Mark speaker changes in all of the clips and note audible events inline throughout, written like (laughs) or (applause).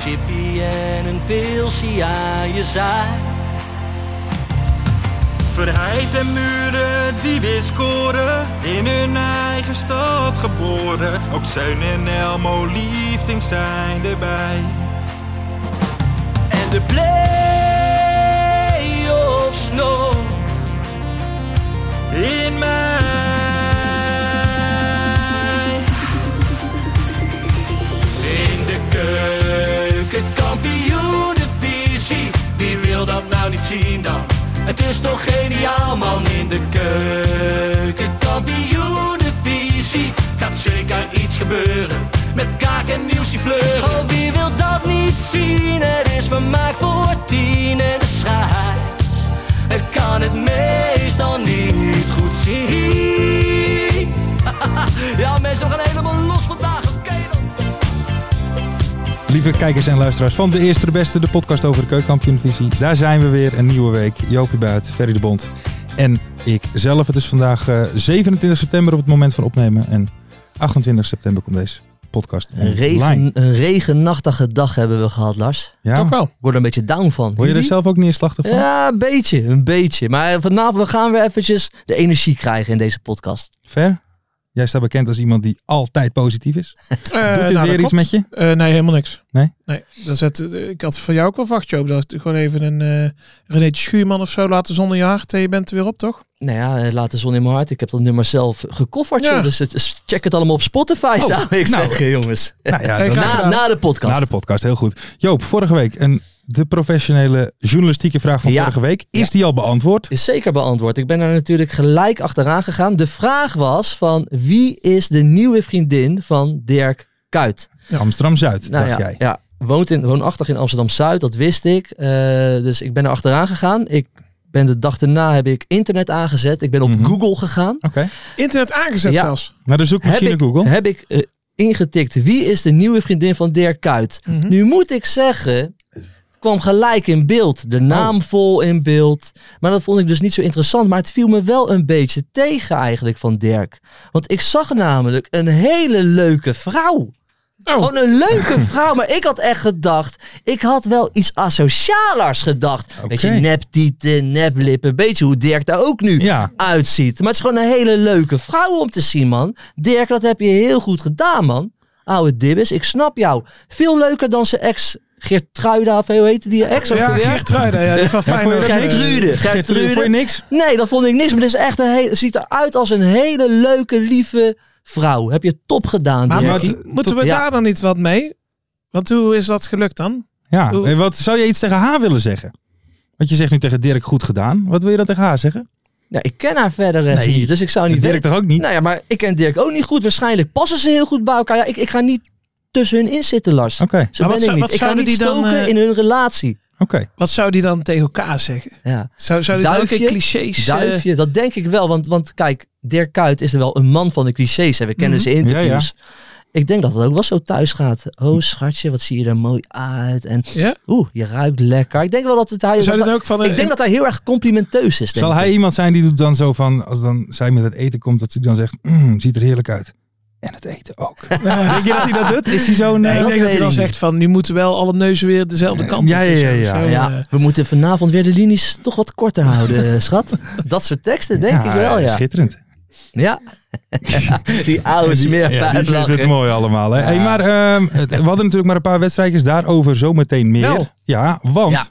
Speaker 1: Chippy en een pilsie aan je zaai.
Speaker 2: Verheid en muren die weer scoren, in hun eigen stad geboren. Ook Zeun en Elmo liefdings zijn erbij.
Speaker 1: En de play-offs nog.
Speaker 2: In mij.
Speaker 1: In de keuken, kampioen de visie. Wie wil dat nou niet zien dan? Het is toch geniaal man in de keuken, kampioen de visie. Gaat zeker iets gebeuren met kaak en nieuwsje fleuren. Oh, wie wil dat niet zien? Het is vermaakt voor tien en de scheids. Ik kan het meestal niet goed zien. (laughs) ja, mensen, we gaan helemaal los vandaag. Oké dan.
Speaker 3: Lieve kijkers en luisteraars van De Eerste de Beste, de podcast over de keukenkampioenvisie. Daar zijn we weer, een nieuwe week. Joopie Buit, Ferry de Bond en ik zelf. Het is vandaag eh, 27 september op het moment van opnemen. En 28 september komt deze podcast
Speaker 4: Een,
Speaker 3: online.
Speaker 4: regen, een regenachtige dag hebben we gehad, Lars.
Speaker 3: Ja,
Speaker 4: Toch wel. Ik word er een beetje down van.
Speaker 3: Word je er zelf ook neerslachtig van?
Speaker 4: Ja, een beetje, een beetje. Maar vanavond we gaan we eventjes de energie krijgen in deze podcast.
Speaker 3: Ver? Jij staat bekend als iemand die altijd positief is. Doet dit weer iets met je?
Speaker 5: nou, Eh, nee, helemaal niks.
Speaker 3: Nee?
Speaker 5: Nee. Dat is het, eh, ik had van jou ook wel wacht, Joop. Dat gewoon even een eh René Schuurman of zo laten zonder je hart. En je bent er weer op, toch?
Speaker 4: Nou ja, eh, laat de zon in mijn hart. Ik heb dat nummer zelf gekofferd,
Speaker 5: Ja.
Speaker 4: joh. dus het- dus check het allemaal op Spotify,
Speaker 3: Oh,
Speaker 4: zou ik
Speaker 3: nou.
Speaker 4: zeggen, jongens.
Speaker 3: Nou ja,
Speaker 5: Hey,
Speaker 3: dan-
Speaker 5: graag
Speaker 4: Na,
Speaker 5: gedaan.
Speaker 4: na de podcast.
Speaker 3: na de podcast, heel goed. Joop, vorige week een, de professionele journalistieke vraag van
Speaker 4: Ja.
Speaker 3: vorige week. Is
Speaker 4: Ja.
Speaker 3: die al beantwoord?
Speaker 4: Is zeker beantwoord. Ik ben er natuurlijk gelijk achteraan gegaan. De vraag was van wie is de nieuwe vriendin van Dirk Kuyt?
Speaker 3: Amsterdam-Zuid,
Speaker 4: Nou
Speaker 3: dacht
Speaker 4: ja,
Speaker 3: jij.
Speaker 4: ja. Woont in, woonachtig in Amsterdam-Zuid, dat wist ik. Eh, dus ik ben er achteraan gegaan. Ik ben de dag daarna heb ik internet aangezet. Ik ben op
Speaker 3: Mhm.
Speaker 4: Google gegaan.
Speaker 3: Oké, Nou,
Speaker 5: Internet aangezet
Speaker 4: Ja.
Speaker 5: zelfs.
Speaker 3: naar de
Speaker 4: Heb
Speaker 3: zoekmachine
Speaker 4: ik,
Speaker 3: Google.
Speaker 4: (laughs) heb ik eh, ingetikt wie is de nieuwe vriendin van Dirk Kuyt?
Speaker 5: Mhm.
Speaker 4: Nu moet ik zeggen, het kwam gelijk in beeld.
Speaker 3: Oh.
Speaker 4: De naam vol in beeld. Maar dat vond ik dus niet zo interessant. Maar het viel me wel een beetje tegen eigenlijk van Dirk. Want ik zag namelijk een hele leuke vrouw.
Speaker 5: Oh,
Speaker 4: Gewoon een
Speaker 3: (laughs)
Speaker 4: leuke vrouw. Maar ik had echt gedacht. Ik had wel iets asocialers gedacht.
Speaker 3: Oké.
Speaker 4: Beetje neptieten, neplippen. Beetje hoe Dirk daar ook nu
Speaker 3: Ja,
Speaker 4: uitziet. Maar het is gewoon een hele leuke vrouw om te zien, man. Dirk, dat heb je heel goed gedaan, man. Oude dibbes, ik snap jou. Veel leuker dan zijn ex Geertruida, of hoe heette die ex ook
Speaker 5: ja,
Speaker 4: alweer?
Speaker 5: Geertruida. Ja,
Speaker 3: (laughs)
Speaker 5: dat is wel fijn.
Speaker 3: vond je
Speaker 5: hoor.
Speaker 3: dat niks?
Speaker 4: Gertrude.
Speaker 3: Gertrude, voor je
Speaker 4: Gertrude.
Speaker 3: niks?
Speaker 4: Nee, dat vond ik niks. Maar het is echt een hele, ziet eruit als een hele leuke, lieve vrouw. Heb je top gedaan,
Speaker 5: Maar
Speaker 4: Dirk.
Speaker 5: moet- moeten we
Speaker 4: Ja.
Speaker 5: daar dan niet wat mee? Want hoe is dat gelukt dan?
Speaker 3: Ja,
Speaker 5: Oeh.
Speaker 3: en wat zou je iets tegen haar willen zeggen? Want je zegt nu tegen Dirk goed gedaan. Wat wil je dan tegen haar zeggen?
Speaker 4: Nou, ik ken haar verder echt
Speaker 3: Nee,
Speaker 4: niet, dus ik zou niet
Speaker 3: Dirk
Speaker 4: weten.
Speaker 3: toch ook niet?
Speaker 4: Nou ja, maar ik ken Dirk ook niet goed. Waarschijnlijk passen ze heel goed bij elkaar. Ja, ik, ik ga niet tussen hun in zitten, Lars.
Speaker 3: Oké,
Speaker 4: Zo
Speaker 5: Maar
Speaker 4: ben
Speaker 5: wat
Speaker 4: ik
Speaker 5: zou-
Speaker 4: niet.
Speaker 5: wat
Speaker 4: Ik ga
Speaker 5: zouden
Speaker 4: niet
Speaker 5: die dan,
Speaker 4: stoken
Speaker 5: eh,
Speaker 4: in hun relatie.
Speaker 3: oké.
Speaker 5: Wat zou die dan tegen elkaar zeggen?
Speaker 4: Ja.
Speaker 5: Zou, zou die dan ook in
Speaker 4: Duifje?
Speaker 5: clichés... eh,
Speaker 4: Duifje, dat denk ik wel. Want, want kijk, Dirk Kuyt is wel een man van de clichés. Hè. We kennen zijn interviews. Ik denk dat het ook wel zo thuis gaat. Oh, schatje, wat zie je er mooi uit. En
Speaker 5: Ja?
Speaker 4: oeh, je ruikt lekker. Ik denk wel dat het hij...
Speaker 5: zou
Speaker 4: dat-
Speaker 5: dit ook van...
Speaker 4: ik denk dat hij heel erg complimenteus is. Denk
Speaker 3: eh, Zal
Speaker 4: ik.
Speaker 3: hij iemand zijn die doet dan zo van, als dan zij met het eten komt, dat ze dan zegt, "Mm, ziet er heerlijk uit. En het eten
Speaker 4: (laughs)
Speaker 3: ook. Denk je dat hij dat doet? Is hij zo? eh,
Speaker 5: Nee,
Speaker 3: Nee,
Speaker 5: ik denk dat hij dan
Speaker 4: Nee.
Speaker 5: zegt van... Nu moeten wel alle neuzen weer dezelfde kant op.
Speaker 3: Ja, ja, ja,
Speaker 5: en zo,
Speaker 3: ja.
Speaker 5: zo, eh.
Speaker 4: Ja, we moeten vanavond weer de linies toch wat korter houden,
Speaker 3: (laughs)
Speaker 4: eh, schat. Dat soort teksten, denk ik wel, ja.
Speaker 3: eh, Schitterend.
Speaker 4: Ja. (laughs) die oude smeer.
Speaker 3: Ja, die vindt het mooi allemaal. Hè? Hey, maar ehm, het- we hadden natuurlijk maar een paar wedstrijdjes daarover zometeen meer.
Speaker 5: Wel.
Speaker 3: Ja, want...
Speaker 4: Ja.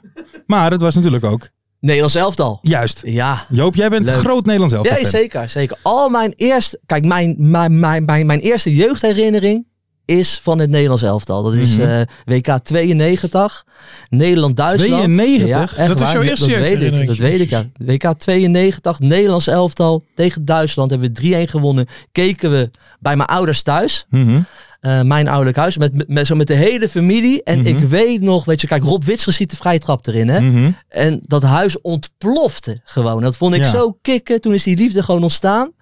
Speaker 3: Maar het was natuurlijk ook...
Speaker 4: Nederlands elftal.
Speaker 3: Juist.
Speaker 4: Ja.
Speaker 3: Joop, jij bent
Speaker 4: Leuk.
Speaker 3: groot Nederlands elftal
Speaker 4: Nee, zeker, zeker. Al mijn eerste... Kijk, mijn, mijn, mijn, mijn, mijn eerste jeugdherinnering is van het Nederlands elftal. Dat is
Speaker 3: Mhm.
Speaker 4: eh, WK 92. Nederland-Duitsland.
Speaker 3: 92?
Speaker 4: echt
Speaker 5: Dat is
Speaker 4: waar.
Speaker 5: jouw eerste
Speaker 4: dat, dat weet ik,
Speaker 5: jeugdherinnering.
Speaker 4: dat weet ik, ja. WK 92, Nederlands elftal tegen Duitsland. Hebben we 3-1 gewonnen. Keken we bij mijn ouders thuis.
Speaker 3: Mhm.
Speaker 4: eh, mijn ouderlijk huis. Met, met, met- zo met de hele familie. En
Speaker 3: Mhm.
Speaker 4: ik weet nog, weet je, kijk, Rob Witsche schiet de vrijtrap erin. Hè?
Speaker 3: Mhm.
Speaker 4: En dat huis ontplofte gewoon. Dat vond ik
Speaker 3: Ja.
Speaker 4: zo kicken. Toen is die liefde gewoon ontstaan.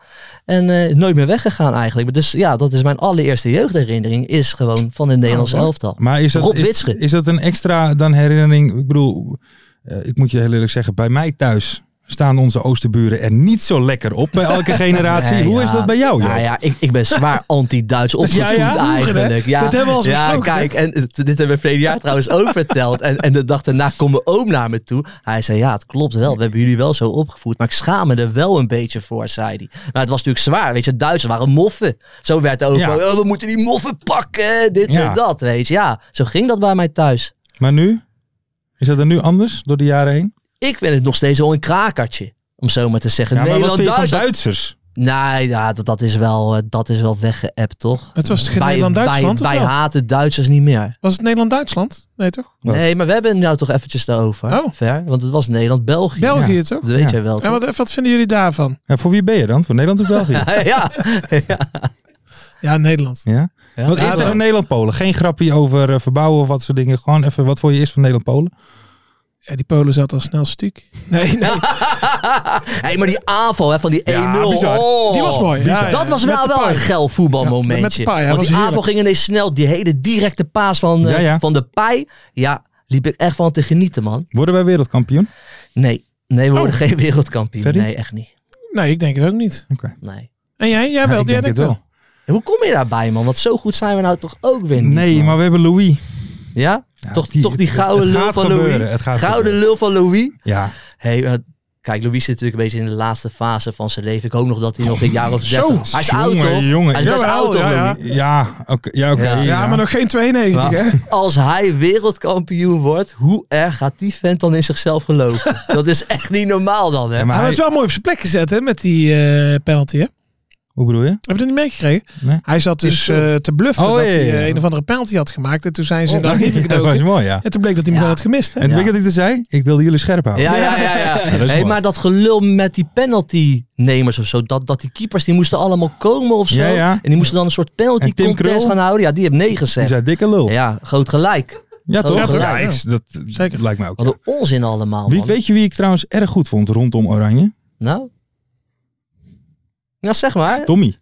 Speaker 4: En eh, is nooit meer weggegaan eigenlijk. Maar Dus ja, dat is mijn allereerste jeugdherinnering. Is gewoon van het Nederlands
Speaker 3: Nou, mooi.
Speaker 4: elftal.
Speaker 3: Maar is dat,
Speaker 4: Rob
Speaker 3: is,
Speaker 4: Witsche.
Speaker 3: is dat een extra dan herinnering? Ik bedoel, eh, ik moet je heel eerlijk zeggen, bij mij thuis staan onze oosterburen er niet zo lekker op bij
Speaker 4: (laughs)
Speaker 3: elke generatie.
Speaker 4: Nee,
Speaker 3: Hoe
Speaker 4: ja.
Speaker 3: is dat bij jou? joh?
Speaker 4: Nou ja, ik, ik ben
Speaker 3: (laughs)
Speaker 4: zwaar anti-Duits opgevoed
Speaker 3: Ja, ja, vroeger, hè?
Speaker 4: eigenlijk. Ja,
Speaker 5: Dat hebben we al eens
Speaker 4: ja
Speaker 5: besproken,
Speaker 4: kijk, en eh, dit hebben we verleden jaar trouwens
Speaker 3: (laughs)
Speaker 4: ook verteld. En, en de dag daarna kwam mijn oom naar me toe. Hij zei, ja, het klopt wel. We hebben jullie wel zo opgevoed. Maar ik schaam me er wel een beetje voor, zei hij. Maar het was natuurlijk zwaar, weet je. Duitsers waren moffen. Zo werd er overal,
Speaker 3: Ja.
Speaker 4: oh, we moeten die moffen pakken. Dit
Speaker 3: Ja.
Speaker 4: en dat, weet je. Ja, zo ging dat bij mij thuis.
Speaker 3: Maar nu? Is dat er nu anders door de jaren heen?
Speaker 4: Ik vind het nog steeds wel een krakertje. Om zo maar te zeggen.
Speaker 3: Ja, maar wat vind je van
Speaker 4: Nederland-Duitsland.
Speaker 3: Duitsers?
Speaker 4: Nee, ja, dat, dat, is wel, eh, dat is wel weggeëpt, toch?
Speaker 5: Het was geen
Speaker 4: Wij-
Speaker 5: Nederland-Duitsland,
Speaker 4: Wij,
Speaker 5: of
Speaker 4: wij
Speaker 5: wel?
Speaker 4: haten Duitsers niet meer.
Speaker 5: Was het Nederland-Duitsland? Nee, toch?
Speaker 3: Wat?
Speaker 4: Nee, maar we hebben het nou toch eventjes daarover.
Speaker 5: Oh.
Speaker 4: Ver, want het was Nederland-België.
Speaker 5: België,
Speaker 3: Ja.
Speaker 5: toch?
Speaker 4: Dat weet
Speaker 3: Ja.
Speaker 4: jij wel.
Speaker 5: En
Speaker 4: toch?
Speaker 5: wat, wat vinden jullie daarvan?
Speaker 3: En voor wie ben je dan? Voor Nederland of
Speaker 4: (laughs)
Speaker 3: België?
Speaker 4: Ja, ja.
Speaker 5: Ja, Nederland.
Speaker 3: ja? Wat is
Speaker 5: Ja,
Speaker 3: tegen
Speaker 5: dan.
Speaker 3: Nederland-Polen? Geen grapje over eh, verbouwen of wat soort dingen. Gewoon even, wat voor je is van Nederland-Polen?
Speaker 5: Ja, die Polen zat al snel stuk. Nee, nee.
Speaker 4: hey, maar die aanval hè, van die 1-0.
Speaker 3: Ja, bizar.
Speaker 4: oh.
Speaker 5: Die was mooi. Ja, ja,
Speaker 4: Dat
Speaker 5: ja.
Speaker 4: was
Speaker 5: Met
Speaker 4: wel,
Speaker 5: de
Speaker 4: wel
Speaker 5: paai.
Speaker 4: een geil
Speaker 5: Ja, met
Speaker 4: voetbalmomentje.
Speaker 5: de paai, ja,
Speaker 4: want
Speaker 5: was
Speaker 4: die aanval
Speaker 5: heerlijk.
Speaker 4: ging ineens snel. Die hele directe paas van, eh,
Speaker 3: Ja, ja.
Speaker 4: van de pij. Ja, liep ik echt van te genieten, man.
Speaker 3: Worden wij wereldkampioen?
Speaker 4: Nee, nee
Speaker 5: Oh.
Speaker 4: we worden geen wereldkampioen.
Speaker 3: Ferry?
Speaker 4: Nee, echt niet.
Speaker 5: Nee, ik denk het ook niet.
Speaker 3: Oké.
Speaker 4: Nee.
Speaker 5: En jij? Jij wel?
Speaker 3: ik
Speaker 5: jij
Speaker 3: denk het
Speaker 5: denkt
Speaker 3: wel.
Speaker 4: En Hoe kom je daarbij, man? Want zo goed zijn we nou toch ook weer niet.
Speaker 3: Nee,
Speaker 4: man.
Speaker 3: maar we hebben Louis.
Speaker 4: Ja?
Speaker 3: Ja,
Speaker 4: toch die, toch die
Speaker 3: het-
Speaker 4: gouden
Speaker 3: het
Speaker 4: lul
Speaker 3: gaat
Speaker 4: van
Speaker 3: gebeuren,
Speaker 4: Louis.
Speaker 3: Het gaat
Speaker 4: Gouden
Speaker 3: gebeuren.
Speaker 4: lul van Louis.
Speaker 3: Ja,
Speaker 4: Hey, eh, kijk, Louis zit natuurlijk een beetje in de laatste fase van zijn leven. Ik hoop nog dat hij nog een jaar of
Speaker 5: Zo,
Speaker 4: dertig... Hij is oud,
Speaker 3: Oh, jongen,
Speaker 4: toch?
Speaker 3: jongen.
Speaker 4: Hij is best
Speaker 5: Jawel,
Speaker 4: oud, toch,
Speaker 5: ja, ja.
Speaker 4: Louis?
Speaker 3: ja oké. Ja, oké,
Speaker 4: Ja.
Speaker 5: wel. Ja, maar nog geen 92,
Speaker 4: Ja.
Speaker 5: hè?
Speaker 4: Als hij wereldkampioen wordt, hoe erg gaat die vent dan in
Speaker 3: (laughs)
Speaker 4: zichzelf geloven? dat is echt niet normaal dan, hè?
Speaker 3: Ja,
Speaker 5: Maar
Speaker 3: maar
Speaker 5: hij
Speaker 3: hij,
Speaker 5: werd wel mooi op zijn plek gezet, hè, met die eh, penalty, hè?
Speaker 3: hoe bedoel je?
Speaker 5: Heb je dat niet meegekregen?
Speaker 3: Nee.
Speaker 5: Hij zat dus eh, te bluffen
Speaker 3: Oh,
Speaker 5: dat
Speaker 3: ja,
Speaker 5: hij
Speaker 3: ja,
Speaker 5: eh,
Speaker 3: ja.
Speaker 5: een of andere penalty had gemaakt. En toen zijn ze daar niet
Speaker 3: Ja, (laughs) dat was
Speaker 5: gedoken.
Speaker 3: mooi, ja.
Speaker 5: En toen bleek dat hij hem
Speaker 4: Ja.
Speaker 5: wel had gemist, hè?
Speaker 3: En weet je wat ik er zei? Ik wilde jullie scherp houden.
Speaker 4: Ja, ja, ja. ja.
Speaker 3: dat is
Speaker 4: Hey,
Speaker 3: mooi.
Speaker 4: maar dat gelul met die penaltynemers of zo, dat, dat die keepers die moesten allemaal komen of zo.
Speaker 3: Ja, ja.
Speaker 4: En die moesten dan een soort penalty
Speaker 3: En Tim
Speaker 4: contest
Speaker 3: Krul?
Speaker 4: gaan houden. Ja, die heeft nee
Speaker 3: Die
Speaker 4: gezegd.
Speaker 3: zei dikke lul. Ja,
Speaker 4: Ja, groot gelijk.
Speaker 3: toch?
Speaker 4: Ja,
Speaker 3: Ja,
Speaker 4: toch?
Speaker 3: ik-
Speaker 5: Ja.
Speaker 3: dat
Speaker 5: Zeker.
Speaker 3: lijkt mij ook.
Speaker 4: Wat
Speaker 3: ja.
Speaker 4: een onzin allemaal,
Speaker 3: Wie,
Speaker 4: man.
Speaker 3: weet je wie ik trouwens erg goed vond rondom Oranje?
Speaker 4: Nou? Nou, zeg maar. Tom,
Speaker 3: Tommy.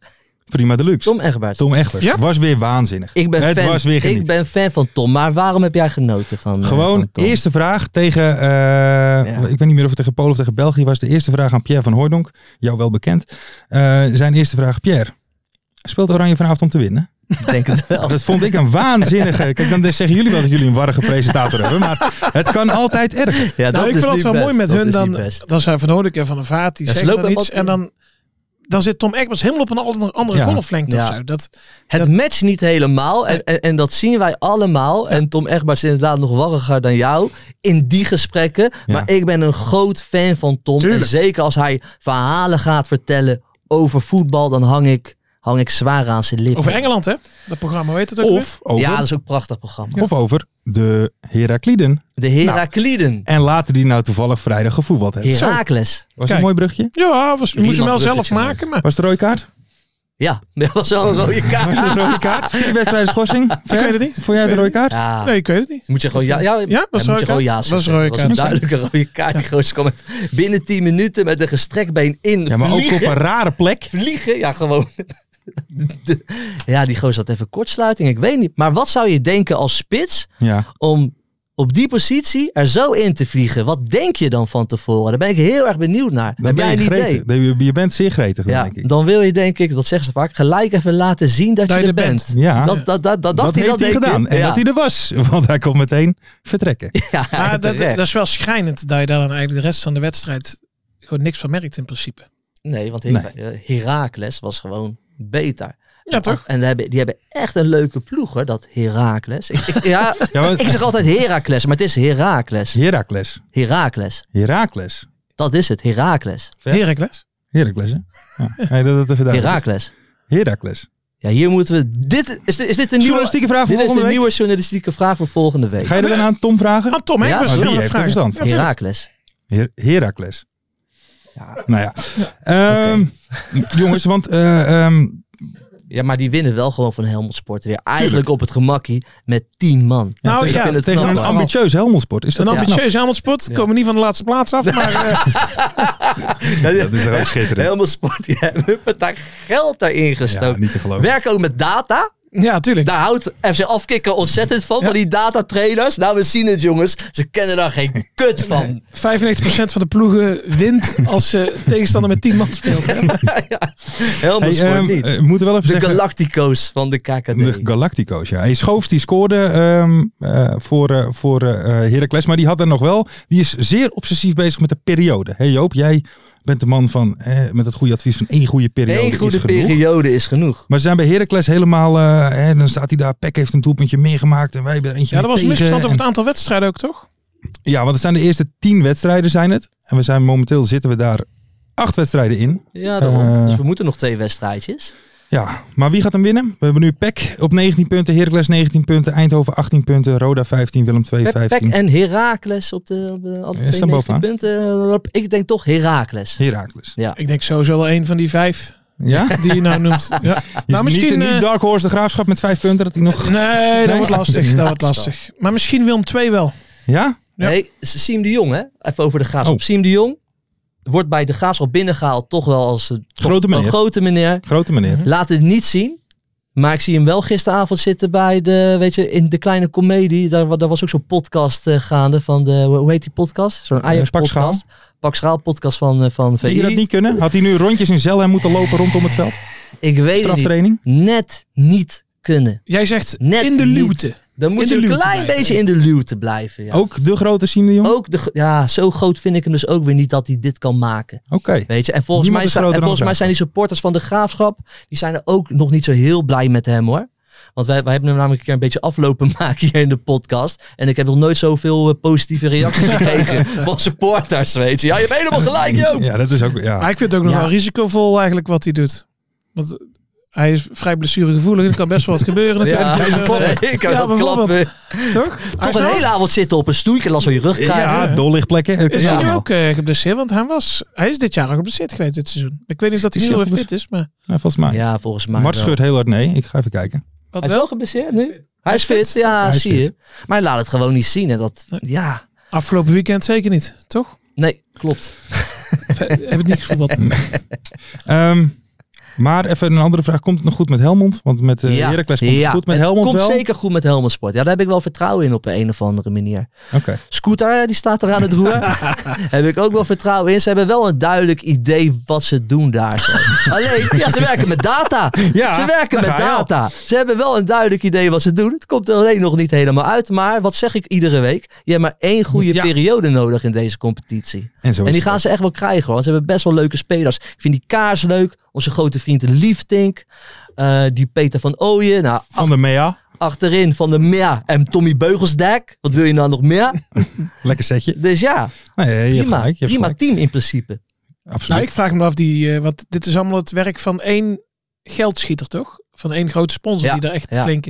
Speaker 3: Prima Deluxe. Tom,
Speaker 4: Egberts.
Speaker 3: Egbers.
Speaker 5: Ja?
Speaker 3: Was weer waanzinnig.
Speaker 4: ik ben,
Speaker 3: Het
Speaker 4: fan,
Speaker 3: was weer
Speaker 4: ik
Speaker 3: geniet.
Speaker 4: ben fan van Tom, maar waarom heb jij genoten van eh,
Speaker 3: Gewoon,
Speaker 4: van Tom?
Speaker 3: eerste vraag tegen, eh, ik weet niet meer of het tegen Polen of tegen België was. De eerste vraag aan Pierre van Hooijdonk, jou wel bekend. Eh, zijn eerste vraag, Pierre, speelt Oranje vanavond om te winnen?
Speaker 4: Ik denk
Speaker 5: (laughs)
Speaker 4: het wel.
Speaker 3: Dat vond ik
Speaker 4: (laughs)
Speaker 3: een waanzinnige. Kijk, dan zeggen jullie wel dat jullie een warrige presentator hebben, maar het kan altijd
Speaker 4: (laughs)
Speaker 3: erg.
Speaker 4: Ja,
Speaker 5: Nou, ik vind
Speaker 4: is
Speaker 5: dat
Speaker 4: niet
Speaker 5: wel
Speaker 4: best.
Speaker 5: mooi met
Speaker 4: Dat
Speaker 5: hun.
Speaker 4: is
Speaker 5: Dan,
Speaker 4: niet best.
Speaker 5: dan zijn Van Hoornik en Van der Vaart, die
Speaker 4: Ja, ze
Speaker 5: zeggen dan
Speaker 4: lopen
Speaker 5: iets.
Speaker 4: wat-
Speaker 5: En dan, dan zit Tom Egbers helemaal op een andere, andere
Speaker 3: Ja.
Speaker 5: golflengte
Speaker 4: Ja.
Speaker 5: of zo. Dat,
Speaker 4: Het matcht niet helemaal en, en, en dat zien wij allemaal. En Tom Egberts is inderdaad nog warriger dan jou in die gesprekken. Maar ik ben een groot fan van Tom. En
Speaker 5: Tuurlijk.
Speaker 4: zeker als hij verhalen gaat vertellen over voetbal, dan hang ik, hang ik zwaar aan zijn lippen.
Speaker 5: over Engeland, hè? Dat programma weet het ook weer.
Speaker 3: Of over,
Speaker 4: Ja, dat is ook een prachtig programma.
Speaker 3: of over de Herakliden.
Speaker 4: De
Speaker 5: Nou.
Speaker 4: Herakliden.
Speaker 3: En laten die nou toevallig vrijdag gevoetbald hebben. Zo, was
Speaker 4: Herakles.
Speaker 3: het een
Speaker 5: Kijk.
Speaker 3: mooi brugje?
Speaker 5: Ja, was, moest hem wel
Speaker 4: Riemann
Speaker 5: zelf
Speaker 4: bruggetje,
Speaker 5: maken. Maar
Speaker 3: Was het een rode
Speaker 4: (laughs)
Speaker 3: kaart?
Speaker 4: Ja, dat was wel een rode
Speaker 3: Was het
Speaker 4: kaart.
Speaker 3: een rode kaart? Vier wedstrijden schorsing? Ver?
Speaker 5: weet het niet.
Speaker 3: Vond jij het een rode kaart?
Speaker 4: Ja.
Speaker 5: nee, ik weet het niet.
Speaker 4: Moet je gewoon ja, ja,
Speaker 5: Ja, was
Speaker 4: moet je
Speaker 5: rode
Speaker 4: gewoon
Speaker 5: kaart?
Speaker 4: ja
Speaker 5: Was
Speaker 4: zeggen.
Speaker 5: rode
Speaker 4: Dat was
Speaker 5: kaart.
Speaker 4: een duidelijke rode kaart. Die gozer kwam met binnen 10 minuten met een gestrekt been in.
Speaker 3: Ja, maar ook
Speaker 4: vliegen,
Speaker 3: op een rare plek.
Speaker 4: vliegen. Ja, gewoon. De- ja, die gozer had even kortsluiting. Ik weet niet. Maar wat zou je denken als spits
Speaker 3: Ja.
Speaker 4: om op die positie er zo in te vliegen? Wat denk je dan van tevoren? Daar ben ik heel erg benieuwd naar.
Speaker 3: Dan
Speaker 4: Heb
Speaker 3: ben
Speaker 4: jij
Speaker 3: je
Speaker 4: een
Speaker 3: gretig.
Speaker 4: idee?
Speaker 3: Dan- Je, je bent zeer gretig, dan
Speaker 4: Ja,
Speaker 3: denk ik.
Speaker 4: dan wil je denk ik, dat zeggen ze vaak, gelijk even laten zien dat, je er bent.
Speaker 3: Ja,
Speaker 4: Dat, dat, dat, dat
Speaker 3: dat
Speaker 4: dacht hij
Speaker 3: Ah. heeft
Speaker 4: dat
Speaker 3: hij
Speaker 4: denk ik.
Speaker 3: gedaan. En
Speaker 4: Ja.
Speaker 3: dat hij er was. (laughs) Want hij kon meteen vertrekken.
Speaker 4: (laughs) Ja,
Speaker 5: (laughs) Maar dat,
Speaker 4: terecht.
Speaker 5: dat is wel schrijnend dat je daar dan eigenlijk de rest van de wedstrijd gewoon niks van merkt in principe.
Speaker 4: Nee, want Her- eh, Heracles was gewoon beter.
Speaker 5: Ja, toch?
Speaker 4: En die hebben, die hebben echt een leuke ploeg, hoor, dat Heracles. Ik, ik- ja,
Speaker 3: (laughs) Ja, maar-
Speaker 4: ik zeg altijd Heracles, maar het is Heracles.
Speaker 3: Herakles.
Speaker 4: Heracles.
Speaker 3: Herakles.
Speaker 4: Dat is het, Heracles.
Speaker 5: Heracles.
Speaker 3: Herakles, hè? Ja. Hey, dat het even duidelijk is.
Speaker 4: Heracles.
Speaker 3: Herakles.
Speaker 4: Ja, hier moeten we... Dit, is, dit- is dit een nieuwe...
Speaker 3: Journalistieke vraag voor
Speaker 4: Dit is
Speaker 3: volgende
Speaker 4: een
Speaker 3: week.
Speaker 4: nieuwe journalistieke vraag voor volgende week.
Speaker 3: Ga je dat dan aan Tom vragen?
Speaker 5: Aan Tom
Speaker 4: Ja,
Speaker 5: Egbers.
Speaker 4: maar
Speaker 5: wil
Speaker 4: die
Speaker 5: dat
Speaker 3: heeft er
Speaker 5: vragen.
Speaker 3: verstand van.
Speaker 4: Heracles.
Speaker 3: Her Herakles.
Speaker 4: Ja.
Speaker 3: Nou ja. Ehm, Jongens, want eh, ehm,
Speaker 4: Ja, maar die winnen wel gewoon van Helmond Sport weer. Eigenlijk op het gemakkie met 10 man.
Speaker 5: Nou,
Speaker 3: tegen,
Speaker 5: ja,
Speaker 3: tegen
Speaker 4: tegen
Speaker 3: een
Speaker 4: een
Speaker 3: ambitieus Helmondsport. Is dat
Speaker 5: Een
Speaker 3: ook knap?
Speaker 5: ambitieus Helmondsport. Komen niet van de laatste plaats
Speaker 4: (laughs)
Speaker 5: af. Maar eh,
Speaker 3: nou, Dat is er ook schitterend.
Speaker 4: Helmond Sport, die hebben daar geld daarin
Speaker 3: Ja,
Speaker 4: gestoken.
Speaker 3: niet te geloven.
Speaker 4: Werken ook met data.
Speaker 5: ja, tuurlijk.
Speaker 4: Daar houdt FC Afkikker ontzettend van, van die datatrainers. Nou, we zien het jongens. Ze kennen daar geen kut van.
Speaker 5: 95% van de ploegen wint als ze tegenstander met 10 man speelt.
Speaker 4: (laughs)
Speaker 5: hè.
Speaker 4: Helmond
Speaker 3: Hey,
Speaker 4: Sport
Speaker 3: ehm,
Speaker 4: niet.
Speaker 3: eh, we moeten wel even
Speaker 4: De
Speaker 3: zeggen...
Speaker 4: Galactico's van de KKD.
Speaker 3: De Galactico's, ja. Hey, Schoofs die scoorde ehm, eh, voor, eh, voor eh, eh, Heracles, maar die had er nog wel. Die is zeer obsessief bezig met de periode. Hey Joop, jij bent de man van, eh, met het goede advies van één goede periode.
Speaker 4: Eén
Speaker 3: is
Speaker 4: goede
Speaker 3: genoeg.
Speaker 4: periode is genoeg.
Speaker 3: Maar ze zijn bij Heracles helemaal, eh, hè, dan staat hij daar, Peck heeft een doelpuntje meer gemaakt en wij hebben er eentje
Speaker 5: Ja, dat was een
Speaker 3: meer tegen.
Speaker 5: misverstand over
Speaker 3: En-
Speaker 5: het aantal wedstrijden ook, toch?
Speaker 3: Ja, want het zijn de eerste tien wedstrijden zijn het. En we zijn momenteel zitten we daar acht wedstrijden in.
Speaker 4: Ja, daarom.
Speaker 3: Eh.
Speaker 4: dus we moeten nog twee wedstrijdjes.
Speaker 3: Ja, maar wie gaat hem winnen? We hebben nu Peck op 19 punten, Heracles 19 punten, Eindhoven 18 punten, Roda 15, Willem 2
Speaker 4: Pek
Speaker 3: 15.
Speaker 4: en Herakles op de, op de alle
Speaker 3: Ja, staan
Speaker 4: twee 19
Speaker 3: bovenaan.
Speaker 4: punten. Eh, Ik denk toch Herakles.
Speaker 3: Heracles.
Speaker 5: Ik denk sowieso wel één van die vijf
Speaker 3: Ja?
Speaker 5: die je
Speaker 4: (laughs)
Speaker 5: nou noemt. Ja.
Speaker 3: Nou, misschien
Speaker 5: Nou, misschien...
Speaker 3: niet,
Speaker 5: eh,
Speaker 3: niet Dark Horse de Graafschap met 5 punten, dat hij nog...
Speaker 5: Nee, dat wordt lastig. Dat wordt
Speaker 4: Ja.
Speaker 5: lastig. Maar misschien Willem 2 wel.
Speaker 3: Ja?
Speaker 5: Ja.
Speaker 4: Nee, Siem de Jong, hè? Even over de graafschap.
Speaker 3: Oh.
Speaker 4: Siem de Jong wordt bij de graafschap binnengehaald, toch wel als een,
Speaker 3: Grote
Speaker 4: een
Speaker 3: meneer.
Speaker 4: grote meneer.
Speaker 3: Grote meneer.
Speaker 4: Laat het niet zien. Maar ik zie hem wel gisteravond zitten bij de, weet je, in de kleine comedie. Daar, wa- daar was ook zo'n podcast eh, gaande van de, hoe heet die podcast? Zo'n Ajax
Speaker 3: Pak
Speaker 4: podcast. Pak Schaal podcast van, eh, van
Speaker 3: Vind je dat
Speaker 4: VI.
Speaker 3: niet kunnen? Had hij nu rondjes in Zelhem moeten lopen rondom het veld?
Speaker 4: Ik weet het niet.
Speaker 3: Straftraining?
Speaker 4: Net niet kunnen.
Speaker 5: Jij zegt
Speaker 4: Net
Speaker 5: in de
Speaker 4: niet.
Speaker 5: luwte.
Speaker 4: Dan
Speaker 5: In
Speaker 4: moet
Speaker 5: de
Speaker 4: je een
Speaker 5: luwte
Speaker 4: klein
Speaker 5: blijven.
Speaker 4: beetje in de luwte blijven. Ja.
Speaker 3: Ook de grote Siem de Jong?
Speaker 4: Ook de, gro- ja, zo groot vind ik hem dus ook weer niet dat hij dit kan maken.
Speaker 3: Oké.
Speaker 4: Weet je? En volgens,
Speaker 3: Niemand
Speaker 4: mij,
Speaker 3: is
Speaker 4: zijn-
Speaker 3: groter
Speaker 4: en
Speaker 3: dan
Speaker 4: volgens mij
Speaker 3: Graafschap.
Speaker 4: zijn die supporters van de Graafschap, die zijn er ook nog niet zo heel blij met hem hoor. Want wij, wij hebben hem namelijk een keer een beetje aflopen (laughs) maken hier in de podcast. En ik heb nog nooit zoveel eh, positieve
Speaker 3: (laughs)
Speaker 4: reacties gekregen van supporters, weet je. Ja, je hebt helemaal gelijk, joh.
Speaker 3: Ja, dat is ook... Ja.
Speaker 5: Maar ik vind het ook nog
Speaker 4: Ja.
Speaker 5: wel risicovol eigenlijk wat hij doet. Want eh, hij is vrij blessuregevoelig. en Er kan best wel wat gebeuren natuurlijk.
Speaker 4: (laughs) Ja,
Speaker 5: Deze-
Speaker 4: zeker,
Speaker 5: Ja,
Speaker 4: dat
Speaker 5: bijvoorbeeld.
Speaker 4: klopt. eh.
Speaker 5: Toch? Hij
Speaker 4: Toch
Speaker 5: is
Speaker 4: een
Speaker 5: wel-
Speaker 4: hele avond zitten op een stoeltje, last van je rug krijgen.
Speaker 3: Ja, dollichtplekken. Het
Speaker 5: Is
Speaker 3: is
Speaker 5: hij nu
Speaker 3: allemaal.
Speaker 5: ook eh, geblesseerd? Want hij, was, hij is dit jaar al geblesseerd geweest, dit seizoen. Ik weet niet dat hij
Speaker 3: Is
Speaker 5: nu
Speaker 3: hij
Speaker 5: weer
Speaker 3: al
Speaker 5: fit is, maar
Speaker 3: Ja, volgens mij.
Speaker 4: Ja, volgens mij
Speaker 3: Mart
Speaker 4: wel.
Speaker 3: schudt heel hard nee. Ik ga even kijken.
Speaker 5: wat
Speaker 4: Hij is
Speaker 5: wel.
Speaker 4: wel geblesseerd nu. Hij is fit, ja,
Speaker 3: Hij is
Speaker 4: zie
Speaker 3: fit.
Speaker 4: je. Maar hij laat het gewoon niet zien. En dat, ja,
Speaker 5: Afgelopen weekend zeker niet, toch?
Speaker 4: nee, klopt.
Speaker 5: Of, eh, Heb
Speaker 4: (laughs)
Speaker 5: het niet gevoetbald.
Speaker 3: Ehm, maar even een andere vraag. Komt het nog goed met Helmond? Want met eh
Speaker 4: ja.
Speaker 3: Heracles komt
Speaker 4: Ja,
Speaker 3: het goed met
Speaker 4: het
Speaker 3: Helmond
Speaker 4: komt
Speaker 3: wel?
Speaker 4: zeker goed met Helmond Sport. Ja, daar heb ik wel vertrouwen in op een of andere manier.
Speaker 3: Oké.
Speaker 4: Scooter, eh, die staat er aan het
Speaker 3: (laughs)
Speaker 4: roer. heb ik ook wel vertrouwen in. Ze hebben wel een duidelijk idee wat ze doen
Speaker 3: (laughs)
Speaker 4: daar. zo. Alleen, ja, ze werken met data.
Speaker 3: Ja,
Speaker 4: ze werken
Speaker 3: daar
Speaker 4: met
Speaker 3: ga je al.
Speaker 4: data. Ze hebben wel een duidelijk idee wat ze doen. Het komt er alleen nog niet helemaal uit. Maar wat zeg ik iedere week? Je hebt maar één goede
Speaker 3: Ja.
Speaker 4: periode nodig in deze competitie.
Speaker 3: En, zo is
Speaker 4: En die
Speaker 3: het
Speaker 4: gaan
Speaker 3: ook.
Speaker 4: ze echt wel krijgen hoor. Want Ze hebben best wel leuke spelers. Ik vind die Kaars leuk. Onze grote vriend Liefdink. Eh, die Peter van Ooyen. Nou,
Speaker 3: Van de MEA.
Speaker 4: ach- achterin van de Mea en Tommy Beugelsdijk. Wat wil je nou nog meer?
Speaker 3: Lekker setje.
Speaker 4: Dus ja,
Speaker 3: Nee, je hebt
Speaker 4: prima,
Speaker 3: gelijk. Je hebt
Speaker 4: prima
Speaker 3: gelijk.
Speaker 4: team in principe.
Speaker 3: Absoluut.
Speaker 5: nou, ik vraag me af, die, eh, wat, dit is allemaal het werk van één geldschieter, toch? Van één grote sponsor
Speaker 4: Ja,
Speaker 5: die daar echt
Speaker 4: ja.
Speaker 5: flink...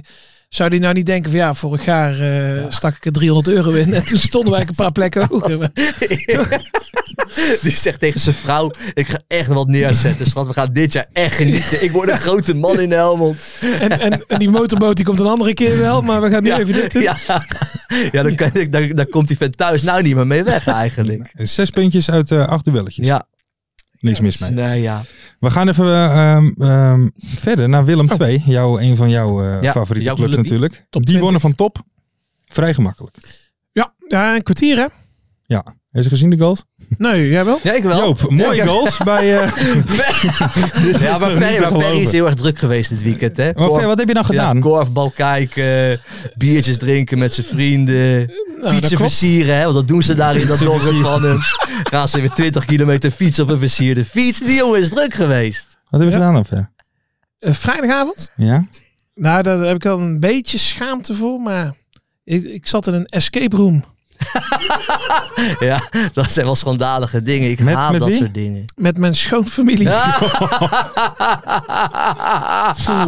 Speaker 5: Zou die nou niet denken van ja, vorig jaar eh, stak ik er 300 euro in en toen stonden wij een paar plekken hoger.
Speaker 4: (laughs)
Speaker 5: Maar
Speaker 4: (laughs) die zegt tegen zijn vrouw: Ik ga echt wat neerzetten, schat. We gaan dit jaar echt genieten. Ik word een grote man in Helmond.
Speaker 5: En, en, en die motorboot die komt een andere keer wel, maar we gaan nu
Speaker 4: (laughs) Ja,
Speaker 5: even dit doen.
Speaker 4: ja. ja dan, kan ik, dan, dan komt die vent thuis nou niet meer mee weg eigenlijk.
Speaker 3: Zes puntjes uit eh, acht duelletjes.
Speaker 4: Ja,
Speaker 3: Niks mis mee.
Speaker 4: nee, ja.
Speaker 3: We gaan even eh, ehm, ehm, verder naar Willem II. Jouw, een van jouw eh,
Speaker 4: Oh. Ja,
Speaker 3: favoriete
Speaker 4: jouw
Speaker 3: clubs
Speaker 4: clubie.
Speaker 3: natuurlijk.
Speaker 5: Top
Speaker 3: Die
Speaker 5: 20.
Speaker 3: wonnen van top. Vrij gemakkelijk.
Speaker 5: Ja, ja, een kwartier hè?
Speaker 3: Ja. Heeft je gezien de goals?
Speaker 5: Nee, jij wel?
Speaker 4: Ja, ik wel. (laughs)
Speaker 3: Joop, mooie
Speaker 4: Ja,
Speaker 3: goals bij... eh
Speaker 4: (laughs) Ja, maar
Speaker 3: nog niet
Speaker 4: Ferry,
Speaker 3: te
Speaker 4: maar Ferry is
Speaker 3: geloven.
Speaker 4: heel erg druk geweest dit weekend, hè?
Speaker 3: Maar Oh, Fer, wat heb je dan gedaan?
Speaker 4: Ja, korfbal kijken, biertjes drinken met zijn vrienden,
Speaker 5: Nou, dat
Speaker 4: fietsen
Speaker 5: klopt.
Speaker 4: versieren, hè? Want dat doen ze daar in dat dorp van hem. Gaan ze weer 20 kilometer fietsen op een versierde fiets. Die jongen is druk geweest.
Speaker 3: Wat heb je
Speaker 5: Ja.
Speaker 3: gedaan dan Fer?
Speaker 5: Eh, vrijdagavond?
Speaker 3: Ja?
Speaker 5: Nou, daar heb ik wel een beetje schaamte voor, maar ik, ik zat in een escape room
Speaker 4: Ja, dat zijn wel schandalige dingen. Ik
Speaker 3: Met-
Speaker 4: haat
Speaker 3: met
Speaker 4: dat
Speaker 3: wie?
Speaker 4: soort dingen.
Speaker 5: met mijn schoonfamilie.
Speaker 4: Ah.
Speaker 5: Ja.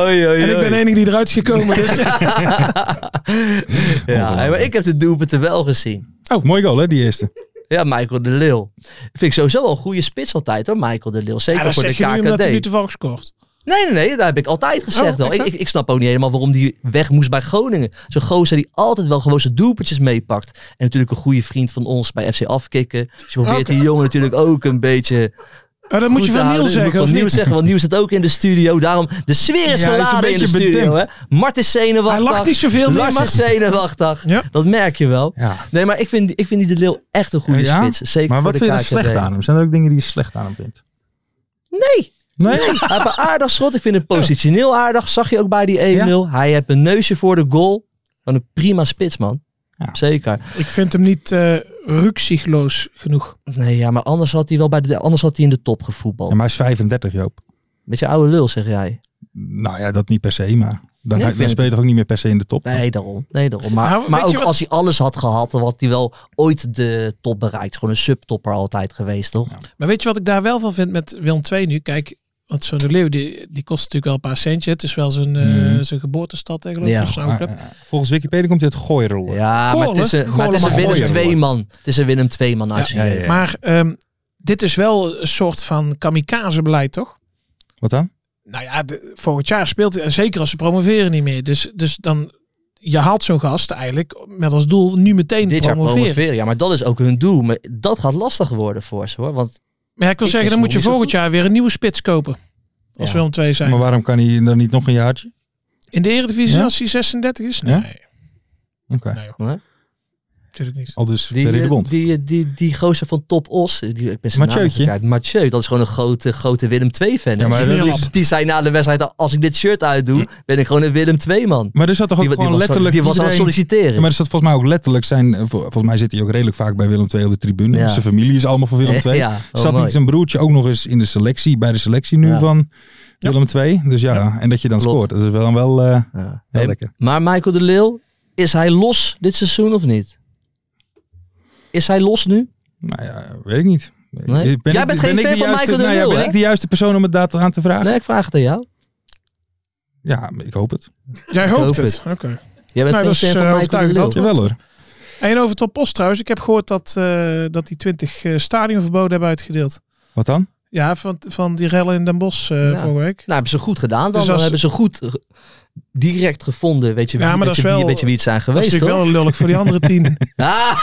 Speaker 4: (laughs) Oei, oei, oei.
Speaker 5: En ik ben de enige die eruit is gekomen.
Speaker 4: (laughs)
Speaker 5: Dus,
Speaker 4: ja,
Speaker 5: Oh.
Speaker 3: Ongelooflijk.
Speaker 4: maar ik heb de doelpunten wel gezien.
Speaker 3: Oh, mooie goal hè, die eerste.
Speaker 4: Ja, Michael de Leeuw. Vind ik sowieso wel een goede spits altijd hoor, Michael de Leeuw. Zeker
Speaker 5: ja, dat
Speaker 4: voor de
Speaker 5: zeg je nu omdat hij nu
Speaker 4: KKD.
Speaker 5: toevallig scoort.
Speaker 4: Nee, nee, nee, dat heb ik altijd gezegd
Speaker 5: Oh,
Speaker 4: al. Ik,
Speaker 5: echt?
Speaker 4: ik, ik snap ook niet helemaal waarom die weg moest bij Groningen. Zo'n gozer die altijd wel gewoon zijn doelpuntjes meepakt. En natuurlijk een goede vriend van ons bij FC Afkikken. Dus je probeert
Speaker 5: Oké.
Speaker 4: die jongen natuurlijk ook een beetje
Speaker 5: Oh, dat moet je
Speaker 4: goed te
Speaker 5: van
Speaker 4: houden.
Speaker 5: Niels
Speaker 4: Dat moet
Speaker 5: zeggen, of
Speaker 4: ik Van
Speaker 5: niet?
Speaker 4: Niels zeggen, want Niels zit ook in de studio. Daarom, de sfeer is
Speaker 3: Ja, hij is een
Speaker 4: geladen in de
Speaker 3: beetje
Speaker 4: studio. Hè?
Speaker 3: bedempt.
Speaker 4: Mart is
Speaker 5: Hij
Speaker 4: zenuwachtig.
Speaker 5: lacht niet zoveel meer,
Speaker 4: Lars
Speaker 5: maar...
Speaker 4: is zenuwachtig.
Speaker 5: Ja.
Speaker 4: Dat merk je wel.
Speaker 3: Ja.
Speaker 4: Nee, maar ik vind, ik vind die de Leeuw echt een goede
Speaker 3: Ja?
Speaker 4: spits. Zeker
Speaker 3: Maar
Speaker 4: voor
Speaker 3: wat
Speaker 4: de
Speaker 3: vind je er
Speaker 4: KKD.
Speaker 3: slecht aan hem? Zijn er ook dingen die je slecht aan hem vindt?
Speaker 4: Nee.
Speaker 3: Nee?
Speaker 4: Hij heeft een aardig schot. Ik vind hem positioneel aardig. Zag je ook bij die 1-0. Hij heeft een neusje voor de goal. Van een prima spits, man.
Speaker 3: Ja.
Speaker 4: Zeker.
Speaker 5: Ik vind hem niet eh ruksigloos genoeg.
Speaker 4: Nee, ja, maar anders had hij wel bij de, anders had hij in de top
Speaker 3: Ja,
Speaker 4: gevoetbald.
Speaker 3: maar hij is 35, Joop.
Speaker 4: Beetje oude lul, zeg jij.
Speaker 3: Nou ja, dat niet per se, maar dan,
Speaker 4: Nee, ik
Speaker 3: dan
Speaker 4: vind-
Speaker 3: speel je toch ook niet meer per se in de top?
Speaker 4: Nee, daarom. Nee, daarom. Maar,
Speaker 5: Nou,
Speaker 4: maar
Speaker 5: weet
Speaker 4: ook
Speaker 5: je wat-
Speaker 4: als hij alles had gehad, dan had hij wel ooit de top bereikt. Gewoon een subtopper altijd geweest, toch?
Speaker 5: Maar weet je wat ik daar wel van vind met Willem II nu? Kijk, want zo'n de Leeuw, die, die kost natuurlijk wel een paar centjes. Het is wel zijn, eh,
Speaker 3: Mhm.
Speaker 5: zijn geboortestad eigenlijk.
Speaker 4: Ja.
Speaker 5: of zo'n
Speaker 3: Maar,
Speaker 5: club.
Speaker 3: eh, volgens Wikipedia komt hij uit Gooirollen.
Speaker 4: Ja, maar het is een,
Speaker 5: Goorlen?
Speaker 4: maar het is een
Speaker 3: Goorlen mag
Speaker 4: Willem
Speaker 3: gooien,
Speaker 4: II man. Het is een Willem II man. als
Speaker 3: Ja,
Speaker 4: je-
Speaker 3: ja, ja.
Speaker 5: Maar ehm, dit is wel een soort van kamikaze-beleid, toch?
Speaker 3: Wat dan?
Speaker 5: Nou ja, de- volgend jaar speelt hij, en zeker als ze promoveren niet meer. Dus, dus dan, je haalt zo'n gast eigenlijk met als doel nu meteen
Speaker 4: Dit jaar
Speaker 5: promoveren.
Speaker 4: promoveren. Ja, maar dat is ook hun doel. Maar dat gaat lastig worden voor ze, hoor. Want
Speaker 5: Maar ja, ik wil
Speaker 4: Ik
Speaker 5: zeggen,
Speaker 4: is
Speaker 5: dan moet
Speaker 4: nog
Speaker 5: je volgend
Speaker 4: niet zo goed.
Speaker 5: jaar weer een nieuwe spits kopen. Als
Speaker 4: Ja.
Speaker 5: we om twee zijn.
Speaker 3: Maar waarom kan hij dan niet nog een jaartje?
Speaker 5: In de Eredivisie
Speaker 3: Ja?
Speaker 5: als hij 36 is? Nee,
Speaker 3: Ja? Oké.
Speaker 5: nee hoor.
Speaker 4: Nee?
Speaker 5: natuurlijk niet.
Speaker 3: Al dus
Speaker 4: Die,
Speaker 3: Ferry de
Speaker 4: eh,
Speaker 3: Bond.
Speaker 4: Die, eh, die, die gozer van Top Os. eh, Die, ik ben zijn naam
Speaker 3: Mathieu'tje.
Speaker 4: even kwijt. Mathieu, dat is gewoon een grote, grote Willem II-fan.
Speaker 3: Ja, maar dat
Speaker 4: die,
Speaker 3: is-
Speaker 4: die zei na de wedstrijd, als ik dit shirt uitdoe, ben ik gewoon een Willem II-man.
Speaker 3: Maar er zat toch ook
Speaker 4: Die, wa- die,
Speaker 3: gewoon
Speaker 4: was,
Speaker 3: letterlijk
Speaker 4: die was aan het
Speaker 3: iedereen-
Speaker 4: solliciteren.
Speaker 3: Ja, maar er zat volgens mij ook letterlijk zijn... eh, vol- Volgens mij zit hij ook redelijk vaak bij Willem II op de tribune.
Speaker 4: Ja.
Speaker 3: Zijn familie is allemaal van Willem II.
Speaker 4: Ja, oh,
Speaker 3: zat
Speaker 4: mooi.
Speaker 3: niet zijn broertje ook nog eens in de selectie, bij de selectie nu
Speaker 4: Ja.
Speaker 3: van Willem II. Dus ja, en dat je dan
Speaker 4: Klopt.
Speaker 3: scoort. Dat is wel, wel, eh,
Speaker 4: Ja.
Speaker 3: wel
Speaker 4: Hey,
Speaker 3: lekker.
Speaker 4: maar Michael de Leeuw, is hij los dit seizoen of niet? Is hij los nu?
Speaker 3: Nou ja, weet ik niet.
Speaker 4: Nee? Jij bent
Speaker 3: de-
Speaker 4: geen
Speaker 3: ik
Speaker 4: fan
Speaker 3: de juiste-
Speaker 4: van Michael de
Speaker 3: nou ja,
Speaker 4: Leeuw,
Speaker 3: Ben
Speaker 4: hè?
Speaker 3: ik de juiste persoon om het daar te- aan te vragen?
Speaker 4: Nee, ik vraag het aan jou.
Speaker 3: Ja, ik hoop het.
Speaker 5: Jij hoopt
Speaker 4: hoop
Speaker 5: het.
Speaker 4: het.
Speaker 5: Oké.
Speaker 4: Jij bent
Speaker 5: Nee,
Speaker 4: geen
Speaker 5: dat is,
Speaker 4: fan
Speaker 5: eh,
Speaker 4: van Michael de
Speaker 5: overtuigend
Speaker 4: Leeuw.
Speaker 5: antwoord.
Speaker 3: Jawel hoor.
Speaker 5: En over Top Os trouwens. Ik heb gehoord dat, eh, dat die 20 eh, stadionverboden hebben uitgedeeld.
Speaker 3: Wat dan?
Speaker 5: Ja, van, van die rellen in Den Bosch eh,
Speaker 4: Ja.
Speaker 5: vorige week.
Speaker 4: Nou, hebben ze goed gedaan dan.
Speaker 5: Dus
Speaker 4: dan
Speaker 5: als-
Speaker 4: hebben ze goed eh, direct gevonden, weet
Speaker 5: Ja,
Speaker 4: je, wie,
Speaker 5: maar
Speaker 4: weet
Speaker 5: dat
Speaker 4: je
Speaker 5: is
Speaker 4: wie,
Speaker 5: wel-
Speaker 4: weet je wie het zijn
Speaker 5: Dat is
Speaker 4: geweest,
Speaker 5: natuurlijk wel
Speaker 4: hoor.
Speaker 5: lullig voor die andere tien.
Speaker 4: Ah,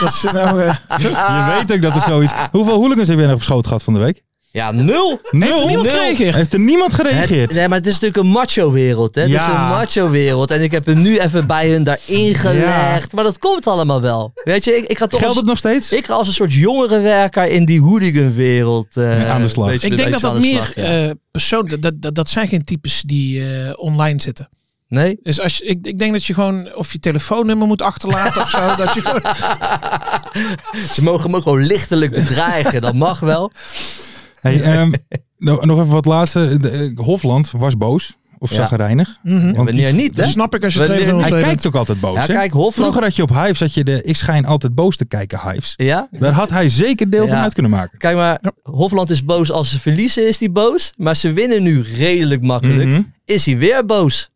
Speaker 5: (laughs) Dat ze nou, eh,
Speaker 3: Je weet ook dat er zoiets... Hoeveel hooligans heb jij nog op schoot gehad van de week?
Speaker 4: ja, nul.
Speaker 3: Nul.
Speaker 5: niemand
Speaker 3: Nul.
Speaker 5: gereageerd?
Speaker 3: Heeft er niemand gereageerd?
Speaker 4: Het- nee, maar het is natuurlijk een macho-wereld, hè. Het
Speaker 3: Ja.
Speaker 4: is een macho-wereld. En ik heb hem nu even bij hun daarin gelegd. Maar dat komt allemaal wel. Weet je, ik, ik ga toch
Speaker 3: Geldt
Speaker 4: als,
Speaker 3: het nog steeds?
Speaker 4: ik ga als een soort jongerenwerker in die hooligan-wereld... eh,
Speaker 3: Ja, aan de slag.
Speaker 4: weet je,
Speaker 5: ik denk dat
Speaker 4: weet je,
Speaker 5: dat
Speaker 4: aan de
Speaker 5: meer
Speaker 4: slag, ja.
Speaker 5: eh, persoon... Dat, dat, dat zijn geen types die eh, online zitten.
Speaker 4: nee?
Speaker 5: Dus als je, ik, ik denk dat je gewoon of je telefoonnummer moet achterlaten of zo. Dat je
Speaker 4: (laughs)
Speaker 5: gewoon,
Speaker 4: Ze mogen me ook gewoon
Speaker 5: (laughs)
Speaker 4: lichtelijk bedreigen. dat mag wel.
Speaker 3: Hey, ehm, no- nog even wat laatste. De, eh, Hofland was boos. Of
Speaker 4: Ja. Hm?
Speaker 3: zagrijnig.
Speaker 5: (laughs) Mhm.
Speaker 3: Want die-
Speaker 4: Wanneer niet,
Speaker 5: Dat
Speaker 4: hè?
Speaker 5: snap ik als je
Speaker 4: Wanneer-
Speaker 5: trainer van ons
Speaker 3: Hij
Speaker 5: bent.
Speaker 3: kijkt ook altijd boos.
Speaker 4: Ja,
Speaker 3: hè?
Speaker 4: kijk, Hofland...
Speaker 3: Vroeger had je op Hives, had je de ik schijn altijd boos te kijken Hives.
Speaker 4: Ja?
Speaker 3: Daar had hij zeker deel van
Speaker 4: Ja.
Speaker 3: uit kunnen maken.
Speaker 4: Kijk maar,
Speaker 5: Ja.
Speaker 4: Hofland is boos als ze verliezen, is hij boos. Maar ze winnen nu redelijk makkelijk.
Speaker 3: Mhm.
Speaker 4: Is hij weer boos?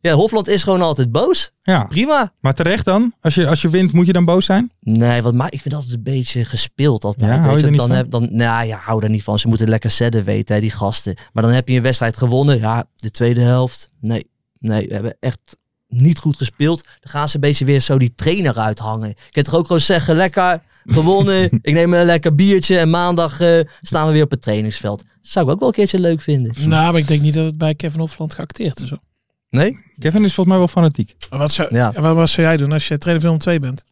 Speaker 4: Ja, Hofland is gewoon altijd boos.
Speaker 3: Ja,
Speaker 4: Prima.
Speaker 3: maar terecht dan. Als je, als je wint, moet je dan boos zijn?
Speaker 4: Nee, want maar ik vind dat altijd een beetje gespeeld altijd.
Speaker 3: Ja, hou
Speaker 4: weet
Speaker 3: je er niet
Speaker 4: dan
Speaker 3: van?
Speaker 4: heb dan, nou ja, hou daar niet van. Ze moeten lekker zetten weten, hè, die gasten. Maar dan heb je een wedstrijd gewonnen. Ja, de tweede helft. Nee, nee, we hebben echt niet goed gespeeld. Dan gaan ze een beetje weer zo die trainer uithangen. Ik kan toch ook gewoon zeggen, lekker
Speaker 3: (laughs)
Speaker 4: gewonnen. ik neem een lekker biertje en maandag eh, staan we weer op het trainingsveld. Zou ik ook wel een keertje leuk vinden.
Speaker 5: Nou, maar ik denk niet dat het bij Kevin Hofland geacteerd is. hoor.
Speaker 4: Nee?
Speaker 3: Kevin is volgens mij wel fanatiek.
Speaker 5: Maar Wat zou,
Speaker 4: Ja.
Speaker 5: wat, wat zou jij doen als je trainer van 2 bent?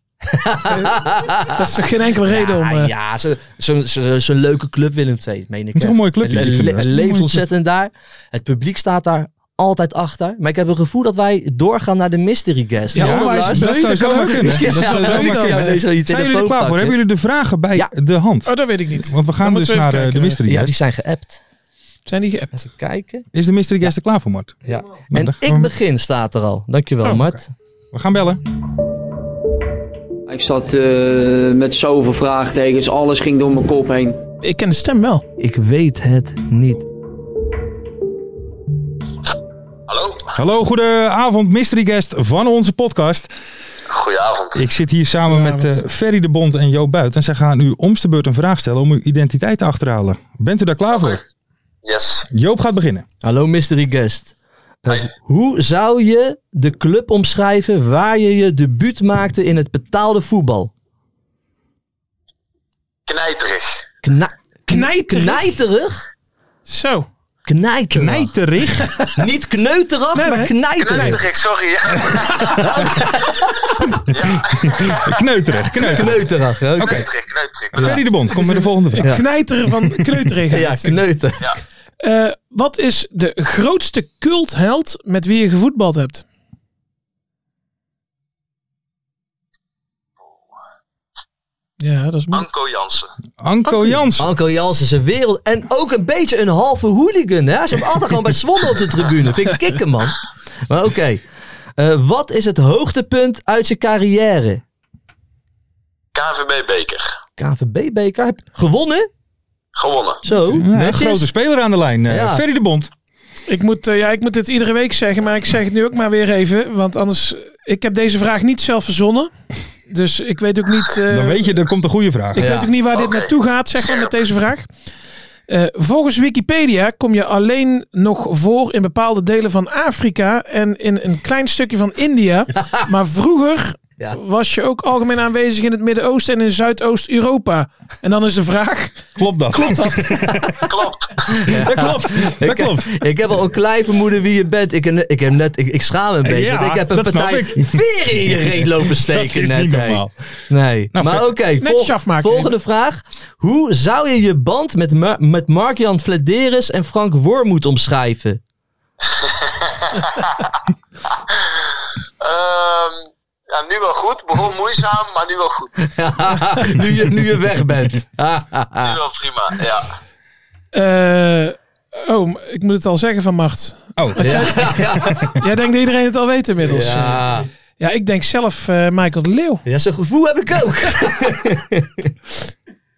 Speaker 4: (laughs)
Speaker 5: dat is toch geen enkele reden om...
Speaker 4: Ah, Ja,
Speaker 5: eh,
Speaker 4: ja zo'n zo, zo, zo- zo'n leuke club Willem II, meen ik.
Speaker 3: Het is
Speaker 4: echt.
Speaker 3: een mooi clubje.
Speaker 4: Het,
Speaker 3: die ze
Speaker 4: le- le-
Speaker 3: hebben. Het is
Speaker 4: het
Speaker 3: een
Speaker 4: leeft
Speaker 3: mooi club.
Speaker 4: ontzettend daar. Het publiek staat daar altijd achter. Maar ik heb een gevoel dat wij doorgaan naar de mystery guest.
Speaker 5: Ja, of
Speaker 4: Lars?
Speaker 5: hij is
Speaker 3: dat
Speaker 5: Nee,
Speaker 3: zou
Speaker 5: dat kan
Speaker 3: zomaar
Speaker 5: ook.
Speaker 3: kunnen.
Speaker 4: Ja,
Speaker 3: Dat zou
Speaker 4: dan
Speaker 3: zomaar
Speaker 4: moet ik jou
Speaker 3: kunnen.
Speaker 4: deze- je
Speaker 3: Zijn jullie er
Speaker 4: telefoon
Speaker 3: klaar voor?
Speaker 4: pakken.
Speaker 3: Hebben jullie de vragen bij
Speaker 4: Ja.
Speaker 3: de hand?
Speaker 5: Oh, dat weet ik niet.
Speaker 3: Want we gaan
Speaker 5: Dan
Speaker 3: dus
Speaker 5: moeten we
Speaker 3: naar
Speaker 5: even
Speaker 3: eh,
Speaker 5: kijken,
Speaker 3: de
Speaker 5: hè.
Speaker 3: mystery
Speaker 4: Ja,
Speaker 3: guest.
Speaker 4: die zijn geappt.
Speaker 5: Zijn die geappt?
Speaker 4: Even kijken.
Speaker 3: Is de mystery guest er klaar voor, Mart?
Speaker 4: Ja.
Speaker 3: Nou,
Speaker 4: En
Speaker 3: dan gaan
Speaker 4: ik
Speaker 3: we-
Speaker 4: begin staat er al. Dankjewel,
Speaker 3: Oh,
Speaker 4: Mart.
Speaker 3: We gaan bellen.
Speaker 6: Ik zat eh, met zoveel vraagtekens, alles ging door mijn kop heen.
Speaker 5: Ik ken de stem wel.
Speaker 4: Ik weet het niet.
Speaker 3: Hallo, goedenavond, mystery guest van onze podcast.
Speaker 7: Goedenavond.
Speaker 3: Ik zit hier samen met eh, Ferry de Bond en Joop Buit. En zij gaan u omste beurt een vraag stellen om uw identiteit te achterhalen. Bent u daar klaar voor?
Speaker 7: Yes.
Speaker 3: Joop gaat beginnen.
Speaker 4: Hallo mystery guest. Eh,
Speaker 7: Hi.
Speaker 4: Hoe zou je de club omschrijven waar je je debuut maakte in het betaalde voetbal?
Speaker 7: Knijterig.
Speaker 4: Kna-
Speaker 5: Knijterig?
Speaker 4: Knijterig?
Speaker 5: Zo.
Speaker 4: Knijterig.
Speaker 3: Knijterig.
Speaker 4: (laughs) Niet kneuterig,
Speaker 5: Nee,
Speaker 4: maar
Speaker 5: nee.
Speaker 4: knijterig.
Speaker 7: Knijterig, sorry. Ja.
Speaker 3: Kneuterig. Kneuterig.
Speaker 4: Kneuterig. hè?
Speaker 3: Oké.
Speaker 7: Knijterig, knijterig.
Speaker 3: Ferry de Bond, kom met de volgende vraag.
Speaker 4: Ja.
Speaker 5: Knijteren van
Speaker 3: (laughs)
Speaker 5: kneuterigheid.
Speaker 4: Ja, kneuter.
Speaker 5: Eh, wat is de grootste cultheld met wie je gevoetbald hebt? Ja, dat is moeilijk.
Speaker 7: Anko Jansen.
Speaker 3: Anko Jans.
Speaker 4: Anko Jans is een wereld. En ook een beetje een halve hooligan. Hè? Ze hebben altijd gewoon bij Zwolle op de tribune. Vind ik kicken, man. Maar oké. Eh, wat is het hoogtepunt uit zijn carrière?
Speaker 7: KVB Beker.
Speaker 4: KVB-beker. Heb- Gewonnen?
Speaker 7: Gewonnen.
Speaker 4: Zo.
Speaker 3: Ja, een
Speaker 4: netjes.
Speaker 3: grote speler aan de lijn. eh,
Speaker 4: Ja.
Speaker 3: Ferry de Bond.
Speaker 5: Ik moet, eh, ja, ik moet dit iedere week zeggen, maar ik zeg het nu ook maar weer even. Want anders, eh, ik heb deze vraag niet zelf verzonnen. Dus ik weet ook niet, eh,
Speaker 3: Dan weet je, er komt een goede vraag.
Speaker 5: ik
Speaker 4: Ja.
Speaker 5: weet ook niet waar dit
Speaker 7: Oké.
Speaker 5: naartoe gaat, zeg maar, met deze vraag. Eh, volgens Wikipedia kom je alleen nog voor in bepaalde delen van Afrika en in een klein stukje van
Speaker 3: (laughs)
Speaker 5: India. Maar vroeger
Speaker 4: Ja.
Speaker 5: was je ook algemeen aanwezig in het Midden-Oosten en in Zuidoost-Europa. En dan is de vraag,
Speaker 3: Klopt dat?
Speaker 5: klopt dat?
Speaker 3: (laughs)
Speaker 7: Klopt. (laughs)
Speaker 3: Dat klopt. Dat
Speaker 4: Ik-
Speaker 3: klopt.
Speaker 4: (laughs) Ik heb al een klein vermoeden wie je bent. Ik, heb- ik, heb net, ik, ik schaam me een beetje.
Speaker 3: Ja,
Speaker 4: want ik heb een
Speaker 3: dat snap
Speaker 4: partij
Speaker 3: ik.
Speaker 4: veren in je reet
Speaker 3: (laughs)
Speaker 4: lopen
Speaker 3: Dat
Speaker 4: steken
Speaker 3: is
Speaker 4: net.
Speaker 3: niet
Speaker 4: hè.
Speaker 3: normaal.
Speaker 4: Nee.
Speaker 3: Nou,
Speaker 4: maar
Speaker 3: vet.
Speaker 4: oké, vol-
Speaker 5: Netjes afmaken,
Speaker 4: volgende vraag. Hoe zou je je band met, Ma- met Mark-Jan Flederis en Frank Wormoed omschrijven? (laughs)
Speaker 7: Ehm, ja, nu wel goed. Begon moeizaam, maar nu wel goed. Nu
Speaker 4: nu, je, nu je weg bent.
Speaker 3: Oh,
Speaker 7: wel prima. Ja.
Speaker 5: Eh, oh, ik moet het al zeggen van Mart.
Speaker 3: Oh,
Speaker 4: (laughs) ja, ja.
Speaker 5: Jij denkt dat iedereen het al weet inmiddels.
Speaker 3: eh,
Speaker 5: Ja,
Speaker 4: Ja.
Speaker 5: ik denk zelf eh, Michael de Leeuw.
Speaker 4: ja, zo'n gevoel heb ik ook. (laughs)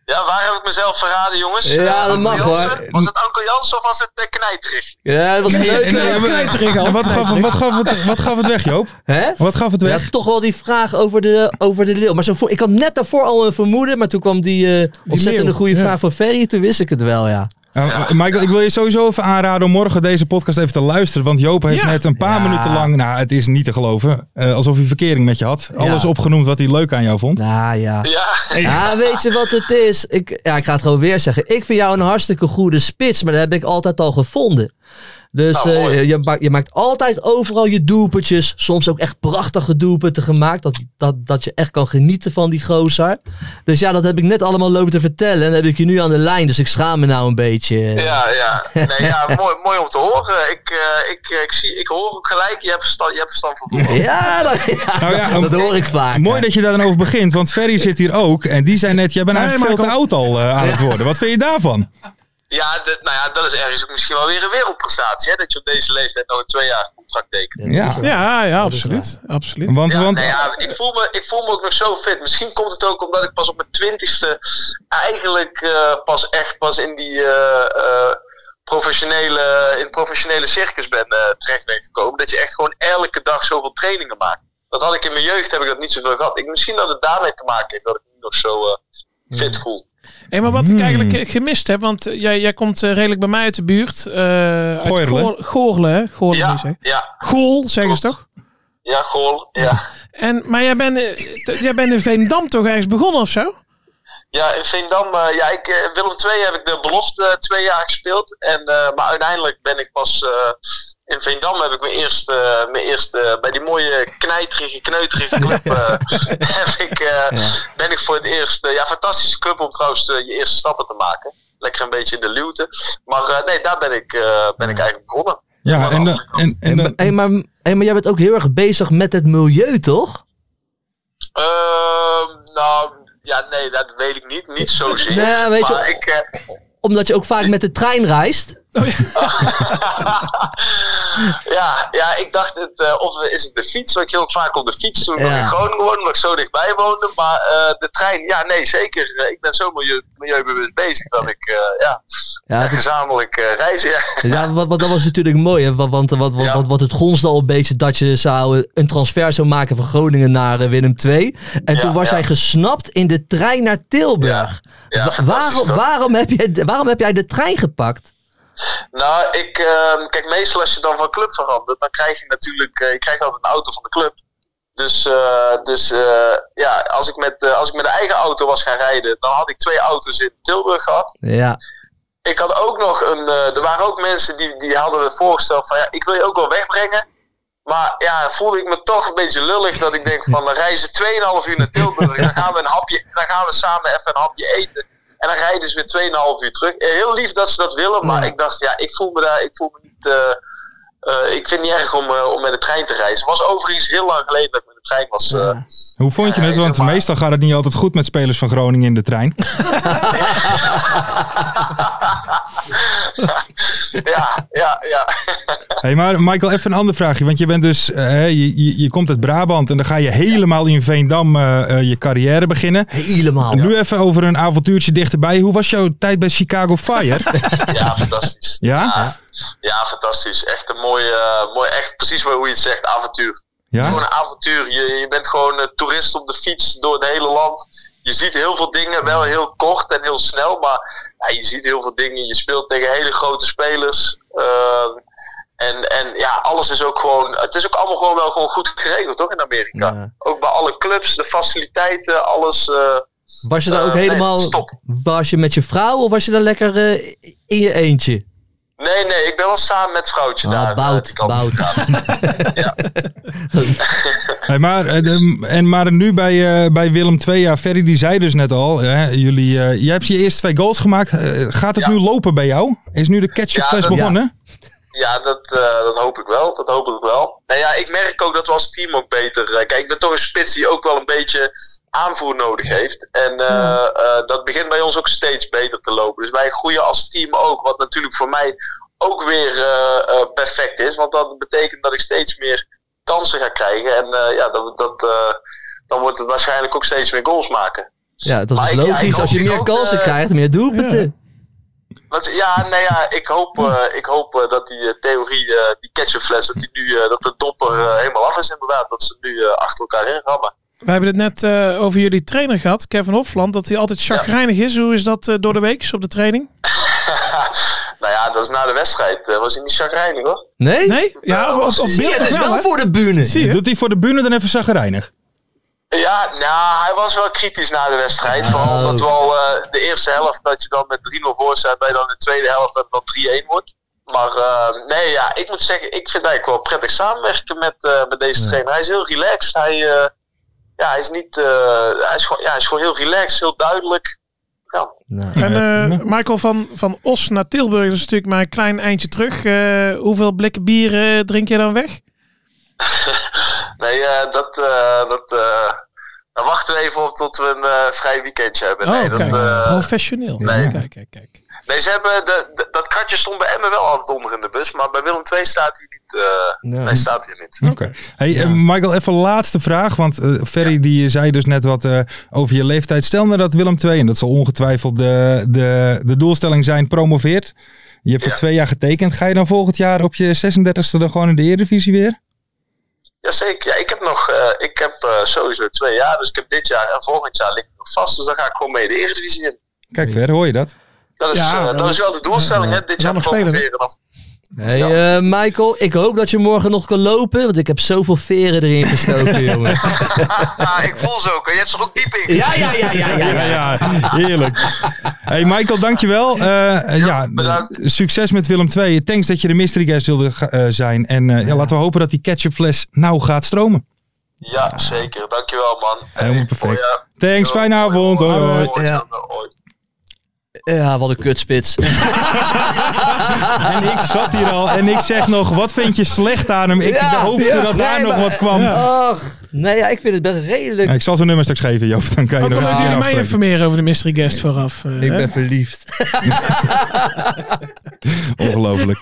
Speaker 7: Ja, waar heb ik mezelf verraden, jongens?
Speaker 4: Ja, dat
Speaker 7: Eh,
Speaker 4: mag,
Speaker 7: Anko
Speaker 4: hoor.
Speaker 7: Jansen? Was het Anko Jansen of was het eh, Knijterig?
Speaker 4: Ja, dat was een leuke.
Speaker 3: En, eh,
Speaker 4: leuke-
Speaker 3: en wat, gaf, wat, gaf het, wat gaf het weg, Joop?
Speaker 4: Hè?
Speaker 3: Wat gaf het
Speaker 4: Ja,
Speaker 3: weg?
Speaker 4: toch wel die vraag over de, over de leeuw. Maar zo, vo- ik had net daarvoor al een vermoeden, maar toen kwam die eh, ontzettende
Speaker 5: leeuw,
Speaker 4: goede
Speaker 5: ja.
Speaker 4: vraag van Ferry. Toen wist ik het wel, ja.
Speaker 3: Eh, Michael, ik wil je sowieso even aanraden om morgen deze podcast even te luisteren. Want Joop heeft
Speaker 5: Ja.
Speaker 3: net een paar
Speaker 4: Ja.
Speaker 3: minuten lang, nou het is niet te geloven, eh, alsof hij verkering met je had. Alles opgenoemd wat hij leuk aan jou vond.
Speaker 4: Nou ja.
Speaker 7: Ja.
Speaker 4: Ja, weet je wat het is? Ik, ja, ik ga het gewoon weer zeggen. Ik vind jou een hartstikke goede spits, maar dat heb ik altijd al gevonden. Dus
Speaker 7: Nou,
Speaker 4: eh,
Speaker 7: mooi.
Speaker 4: je, ma- je maakt altijd overal je doelpuntjes. Soms ook echt prachtige doelpunten gemaakt. Dat, dat, dat je echt kan genieten van die gozer. Dus ja, dat heb ik net allemaal lopen te vertellen. En dan heb ik je nu aan de lijn, dus ik schaam me nou een beetje.
Speaker 7: Ja, ja. Nee, ja mooi, mooi om te horen. Ik, eh, ik, eh, ik, zie, ik hoor ook gelijk, je hebt verstand, je hebt verstand van voetbal.
Speaker 4: (laughs) Ja, dat, ja,
Speaker 3: Nou ja,
Speaker 4: dat hoor ik vaak.
Speaker 3: Mooi dat je daar dan over begint, want Ferry zit hier ook. En die zei net, jij bent
Speaker 5: Nee,
Speaker 3: eigenlijk veel te oud al eh, aan het worden. Wat vind je daarvan?
Speaker 7: Ja, dat, nou ja, dat is ergens ook misschien wel weer een wereldprestatie. Hè? Dat je op deze leeftijd nog een twee jaar contract tekent.
Speaker 3: Ja,
Speaker 5: Ja, ja,
Speaker 4: is
Speaker 5: absoluut. absoluut.
Speaker 3: want...
Speaker 7: Ja,
Speaker 3: want
Speaker 7: nee, ja, ik, voel me, ik voel me ook nog zo fit. Misschien komt het ook omdat ik pas op mijn twintigste eigenlijk eh, pas echt pas in die eh, eh, professionele, in het professionele circus ben eh, terecht ben gekomen. Dat je echt gewoon elke dag zoveel trainingen maakt. Dat had ik in mijn jeugd heb ik dat niet zoveel gehad. Ik, misschien dat het daarmee te maken heeft dat ik me nog zo eh, fit voel.
Speaker 5: Hey, maar wat ik
Speaker 3: Hmm.
Speaker 5: eigenlijk eh, gemist heb, want eh, jij, jij komt eh, redelijk bij mij uit de buurt. eh uit
Speaker 3: Goorlen.
Speaker 5: Goor- Goorlen, hè? Goorlen, moet
Speaker 7: Ja,
Speaker 5: je zeggen.
Speaker 7: ja,
Speaker 5: Gool, zeggen ze toch?
Speaker 7: ja, goal. Ja.
Speaker 5: En, maar jij bent, eh, t- jij bent in Veendam toch ergens begonnen of zo?
Speaker 7: Ja, in Veendam, eh, ja, ik, eh, Willem II heb ik de belofte eh, twee jaar gespeeld. En, eh, maar uiteindelijk ben ik pas eh, in Veendam heb ik mijn eerste, eh, mijn eerste eh, bij die mooie knijterige,
Speaker 4: (laughs)
Speaker 7: kneuterige club eh, (laughs) heb ik, eh, ben ik voor het eerst, eh, ja, fantastische club om trouwens eh, je eerste stappen te maken. Lekker een beetje in de luwte. Maar eh, nee, daar ben ik, eh, ben ik eigenlijk begonnen.
Speaker 3: ja, en, dan- en, en,
Speaker 4: Hé,
Speaker 3: dan-
Speaker 4: maar, hé, maar jij bent ook heel erg bezig met het milieu, toch?
Speaker 7: Ehm, nou, ja, nee, dat weet ik niet. Niet zozeer.
Speaker 4: Nee, weet je-
Speaker 7: maar ik, eh,
Speaker 4: Omdat je ook vaak met de trein reist.
Speaker 7: ja, ja, ik dacht, het, eh, of is het de fiets? Want ik heel vaak op de fiets toen ik
Speaker 4: Ja.
Speaker 7: nog in Groningen woonde, omdat ik zo dichtbij woonde. Maar eh, de trein, ja, nee, zeker. Eh, ik ben zo milieu, milieubewust bezig dat ik eh, ja,
Speaker 4: Ja, dat-
Speaker 7: gezamenlijk eh, reizen. Ja.
Speaker 4: ja wat, wat, dat was natuurlijk mooi, hè? Wa- Want, eh, wat, wat,
Speaker 7: Ja.
Speaker 4: wat, wat het gonsde al een beetje dat je zou eh, een transfer zou maken van Groningen naar eh, Willem II. En
Speaker 7: Ja,
Speaker 4: toen was
Speaker 7: ja.
Speaker 4: jij gesnapt in de trein naar Tilburg.
Speaker 7: Ja,
Speaker 4: Wa-
Speaker 7: fantastisch
Speaker 4: waarom,
Speaker 7: toch?
Speaker 4: waarom, heb jij, waarom heb jij de trein gepakt?
Speaker 7: (laughs) Nou, ik, ehm, kijk, meestal als je dan van club verandert, dan krijg je natuurlijk, eh, je krijgt altijd een auto van de club. Dus, eh, dus eh, ja, als ik, met, eh, als ik met een eigen auto was gaan rijden, dan had ik twee auto's in Tilburg gehad.
Speaker 4: Ja,
Speaker 7: Ik had ook nog een, eh, er waren ook mensen die, die hadden het voorgesteld van, ja, ik wil je ook wel wegbrengen. Maar ja, voelde ik me toch een beetje lullig dat ik denk van, we reizen 2,5 uur naar Tilburg, dan gaan we een hapje, dan gaan we samen even een hapje eten. En dan rijden ze weer 2,5 uur terug. Eh, Heel lief dat ze dat willen, maar ik dacht, ja, ik voel me daar, ik voel me niet, eh, eh, ik vind het niet erg om, eh, om met de trein te reizen. Het was overigens heel lang geleden dat ik met de trein was. eh,
Speaker 3: Hoe vond je
Speaker 7: Ja,
Speaker 3: het? Want
Speaker 7: helemaal.
Speaker 3: meestal gaat het niet altijd goed met spelers van Groningen in de
Speaker 7: (laughs)
Speaker 3: trein.
Speaker 7: ja, ja, ja. (laughs)
Speaker 3: Hey, maar Michael, even een ander vraagje. Want je bent dus, eh, je, je, je komt uit Brabant en dan ga je helemaal in Veendam eh, eh, je carrière beginnen.
Speaker 4: helemaal.
Speaker 3: Nu even over een avontuurtje dichterbij. Hoe was jouw tijd bij Chicago
Speaker 7: (laughs)
Speaker 3: Fire?
Speaker 7: ja, fantastisch.
Speaker 3: ja?
Speaker 7: Ja, ja, fantastisch. Echt een mooi, eh, mooi echt precies hoe je het zegt, avontuur. Gewoon
Speaker 3: Ja?
Speaker 7: een avontuur. Je, je bent gewoon eh, toerist op de fiets door het hele land. Je ziet heel veel dingen, wel heel kort en heel snel, maar ja, je ziet heel veel dingen. Je speelt tegen hele grote spelers. Ehm, en, en ja, alles is ook gewoon, het is ook allemaal gewoon wel gewoon goed geregeld, toch, in Amerika.
Speaker 4: Ja.
Speaker 7: Ook bij alle clubs, de faciliteiten, alles. eh,
Speaker 4: Was je daar
Speaker 7: Eh,
Speaker 4: ook
Speaker 7: nee,
Speaker 4: helemaal...
Speaker 7: stop.
Speaker 4: was je met je vrouw of was je daar lekker eh, in je eentje?
Speaker 7: Nee, nee, ik ben wel samen met vrouwtje
Speaker 4: Ah,
Speaker 7: daar. eh,
Speaker 4: bout,
Speaker 7: die kant op
Speaker 4: bout.
Speaker 7: gegaan.
Speaker 3: Hey, maar, eh, de- en maar nu bij, eh, bij Willem II, ja, Ferry die zei dus net al, hè, jullie, eh, jij hebt je eerste twee goals gemaakt. Eh, gaat het
Speaker 7: Ja.
Speaker 3: nu lopen bij jou? Is nu de catch-up
Speaker 7: Ja,
Speaker 3: fles
Speaker 7: dat-
Speaker 3: begonnen?
Speaker 7: Ja, dat, eh, dat hoop ik wel. Dat hoop ik wel. Nou ja, ik merk ook dat we als team ook beter. eh, kijk, ik ben toch een spits die ook wel een beetje aanvoer nodig heeft. En eh,
Speaker 4: Hmm.
Speaker 7: eh, dat begint bij ons ook steeds beter te lopen. Dus wij groeien als team ook. Wat natuurlijk voor mij ook weer eh, eh, perfect is. Want dat betekent dat ik steeds meer kansen ga krijgen. En eh, ja, dat, dat, eh, dan wordt het waarschijnlijk ook steeds meer goals maken.
Speaker 4: Ja, dat
Speaker 7: Maar
Speaker 4: is
Speaker 7: ik- ja, ik
Speaker 4: logisch.
Speaker 7: hoop-
Speaker 4: Als je
Speaker 7: ik
Speaker 4: meer
Speaker 7: hoop,
Speaker 4: kansen
Speaker 7: eh,
Speaker 4: krijgt, meer doelpunten.
Speaker 7: Wat, ja, nou ja, ik hoop, eh, ik hoop eh, dat die eh, theorie, eh, die ketchupfles, dat, die nu, eh, dat de domper eh, helemaal af is inderdaad. Dat ze nu eh, achter elkaar in rammen.
Speaker 5: We hebben het net eh, over jullie trainer gehad, Kevin Hofland, dat hij altijd chagrijnig is. Hoe is dat eh, door de week op de training?
Speaker 7: (laughs) nou ja, dat is na de wedstrijd. eh, was hij niet chagrijnig hoor.
Speaker 4: Nee?
Speaker 5: Nee? Ja, op, op
Speaker 7: Nou, Zie je,
Speaker 5: beeld
Speaker 4: Ja, dat is
Speaker 5: nog wel,
Speaker 4: wel
Speaker 5: hè?
Speaker 4: voor de bühne.
Speaker 5: Zie je?
Speaker 3: Doet hij voor de bühne dan even zagrijnig?
Speaker 7: Ja, nou, hij was wel kritisch na de wedstrijd. Vooral omdat we al eh, de eerste helft, dat je dan met 3-0 voor staat, bij dan de tweede helft dat het dan 3-1 wordt. Maar eh, nee, ja, ik moet zeggen, ik vind het eigenlijk wel prettig samenwerken met, eh, met deze trainer. Hij is heel relaxed. Hij, eh, ja, hij is niet, eh, hij, is gewoon, ja, hij is gewoon heel relaxed, heel duidelijk. Ja.
Speaker 4: Nou,
Speaker 5: En eh, Michael, van, van Os naar Tilburg, dat is natuurlijk maar een klein eindje terug. Eh, hoeveel blikken bier eh, drink je dan weg?
Speaker 7: Nee, eh, dat, eh, dat, eh, dan wachten we even op tot we een eh, vrij weekendje hebben. nee,
Speaker 5: oh,
Speaker 7: dat,
Speaker 5: kijk,
Speaker 7: eh,
Speaker 5: professioneel.
Speaker 7: nee.
Speaker 5: Kijk, kijk, kijk.
Speaker 7: nee, ze hebben, de, de- dat kratje stond bij Emmen wel altijd onder in de bus, maar bij Willem II staat hij niet. eh,
Speaker 4: nou.
Speaker 7: Nee, staat hier niet.
Speaker 3: Oké. Hey, eh, Michael, even laatste vraag. Want eh, Ferry die zei dus net wat eh, over je leeftijd. Stel nou dat Willem II, en dat zal ongetwijfeld de, de, de doelstelling zijn, promoveert. Je hebt voor
Speaker 7: Ja.
Speaker 3: twee jaar getekend. Ga je dan volgend jaar op je 36e dan gewoon in de Eredivisie weer?
Speaker 7: Jazeker. Ja, ik heb nog, eh, ik heb eh, sowieso twee jaar, dus ik heb dit jaar en volgend jaar ligt ik nog vast, dus dan ga ik gewoon mee de Eredivisie in.
Speaker 3: Kijk ver, hoor je dat?
Speaker 7: Dat is,
Speaker 5: Ja,
Speaker 7: eh,
Speaker 5: dan-
Speaker 7: dat is wel de doelstelling, hè? Dit
Speaker 5: dan
Speaker 7: jaar
Speaker 5: nog spelen,
Speaker 7: promoveren. Dan,
Speaker 4: Hey,
Speaker 7: Ja.
Speaker 4: eh, Michael, ik hoop dat je morgen nog kan lopen, want ik heb zoveel veren erin
Speaker 3: (laughs)
Speaker 4: gestoken, jongen.
Speaker 7: Ah, ik voel ze ook. hè. Je hebt ze er ook diep in.
Speaker 4: Ja, ja, ja, ja, ja.
Speaker 3: Ja, ja, heerlijk. Hey Michael, dankjewel. Eh ja,
Speaker 7: bedankt.
Speaker 3: Succes met Willem II. Thanks dat je de mystery guest wilde eh, zijn. En eh, ja, laten we hopen dat die ketchupfles nou gaat stromen.
Speaker 7: Ja, zeker. Dankjewel, man.
Speaker 3: Helemaal
Speaker 7: Hey,
Speaker 3: perfect.
Speaker 7: hoi, ja.
Speaker 3: Thanks,
Speaker 7: Yo,
Speaker 3: fijne avond. Hoi, hoi.
Speaker 4: Ja.
Speaker 7: hoi.
Speaker 4: Ja, wat een kutspits.
Speaker 3: En ik zat hier al en ik zeg nog, wat vind je slecht aan hem? Ik
Speaker 4: Ja,
Speaker 3: hoopte
Speaker 4: ja,
Speaker 3: dat
Speaker 4: nee,
Speaker 3: daar nog
Speaker 4: maar-
Speaker 3: wat kwam.
Speaker 4: Ach, nee, ja, ik vind het best redelijk.
Speaker 3: Ja, Ik zal zijn nummer straks geven, Joop. Dan kan je
Speaker 4: Oh,
Speaker 5: Ook
Speaker 3: nog
Speaker 5: wel
Speaker 3: een
Speaker 5: leuk dat
Speaker 3: keer
Speaker 5: jullie mij
Speaker 3: afspreken.
Speaker 5: informeren over de mystery guest vooraf. eh, hè?
Speaker 4: verliefd.
Speaker 3: (laughs) Ongelooflijk.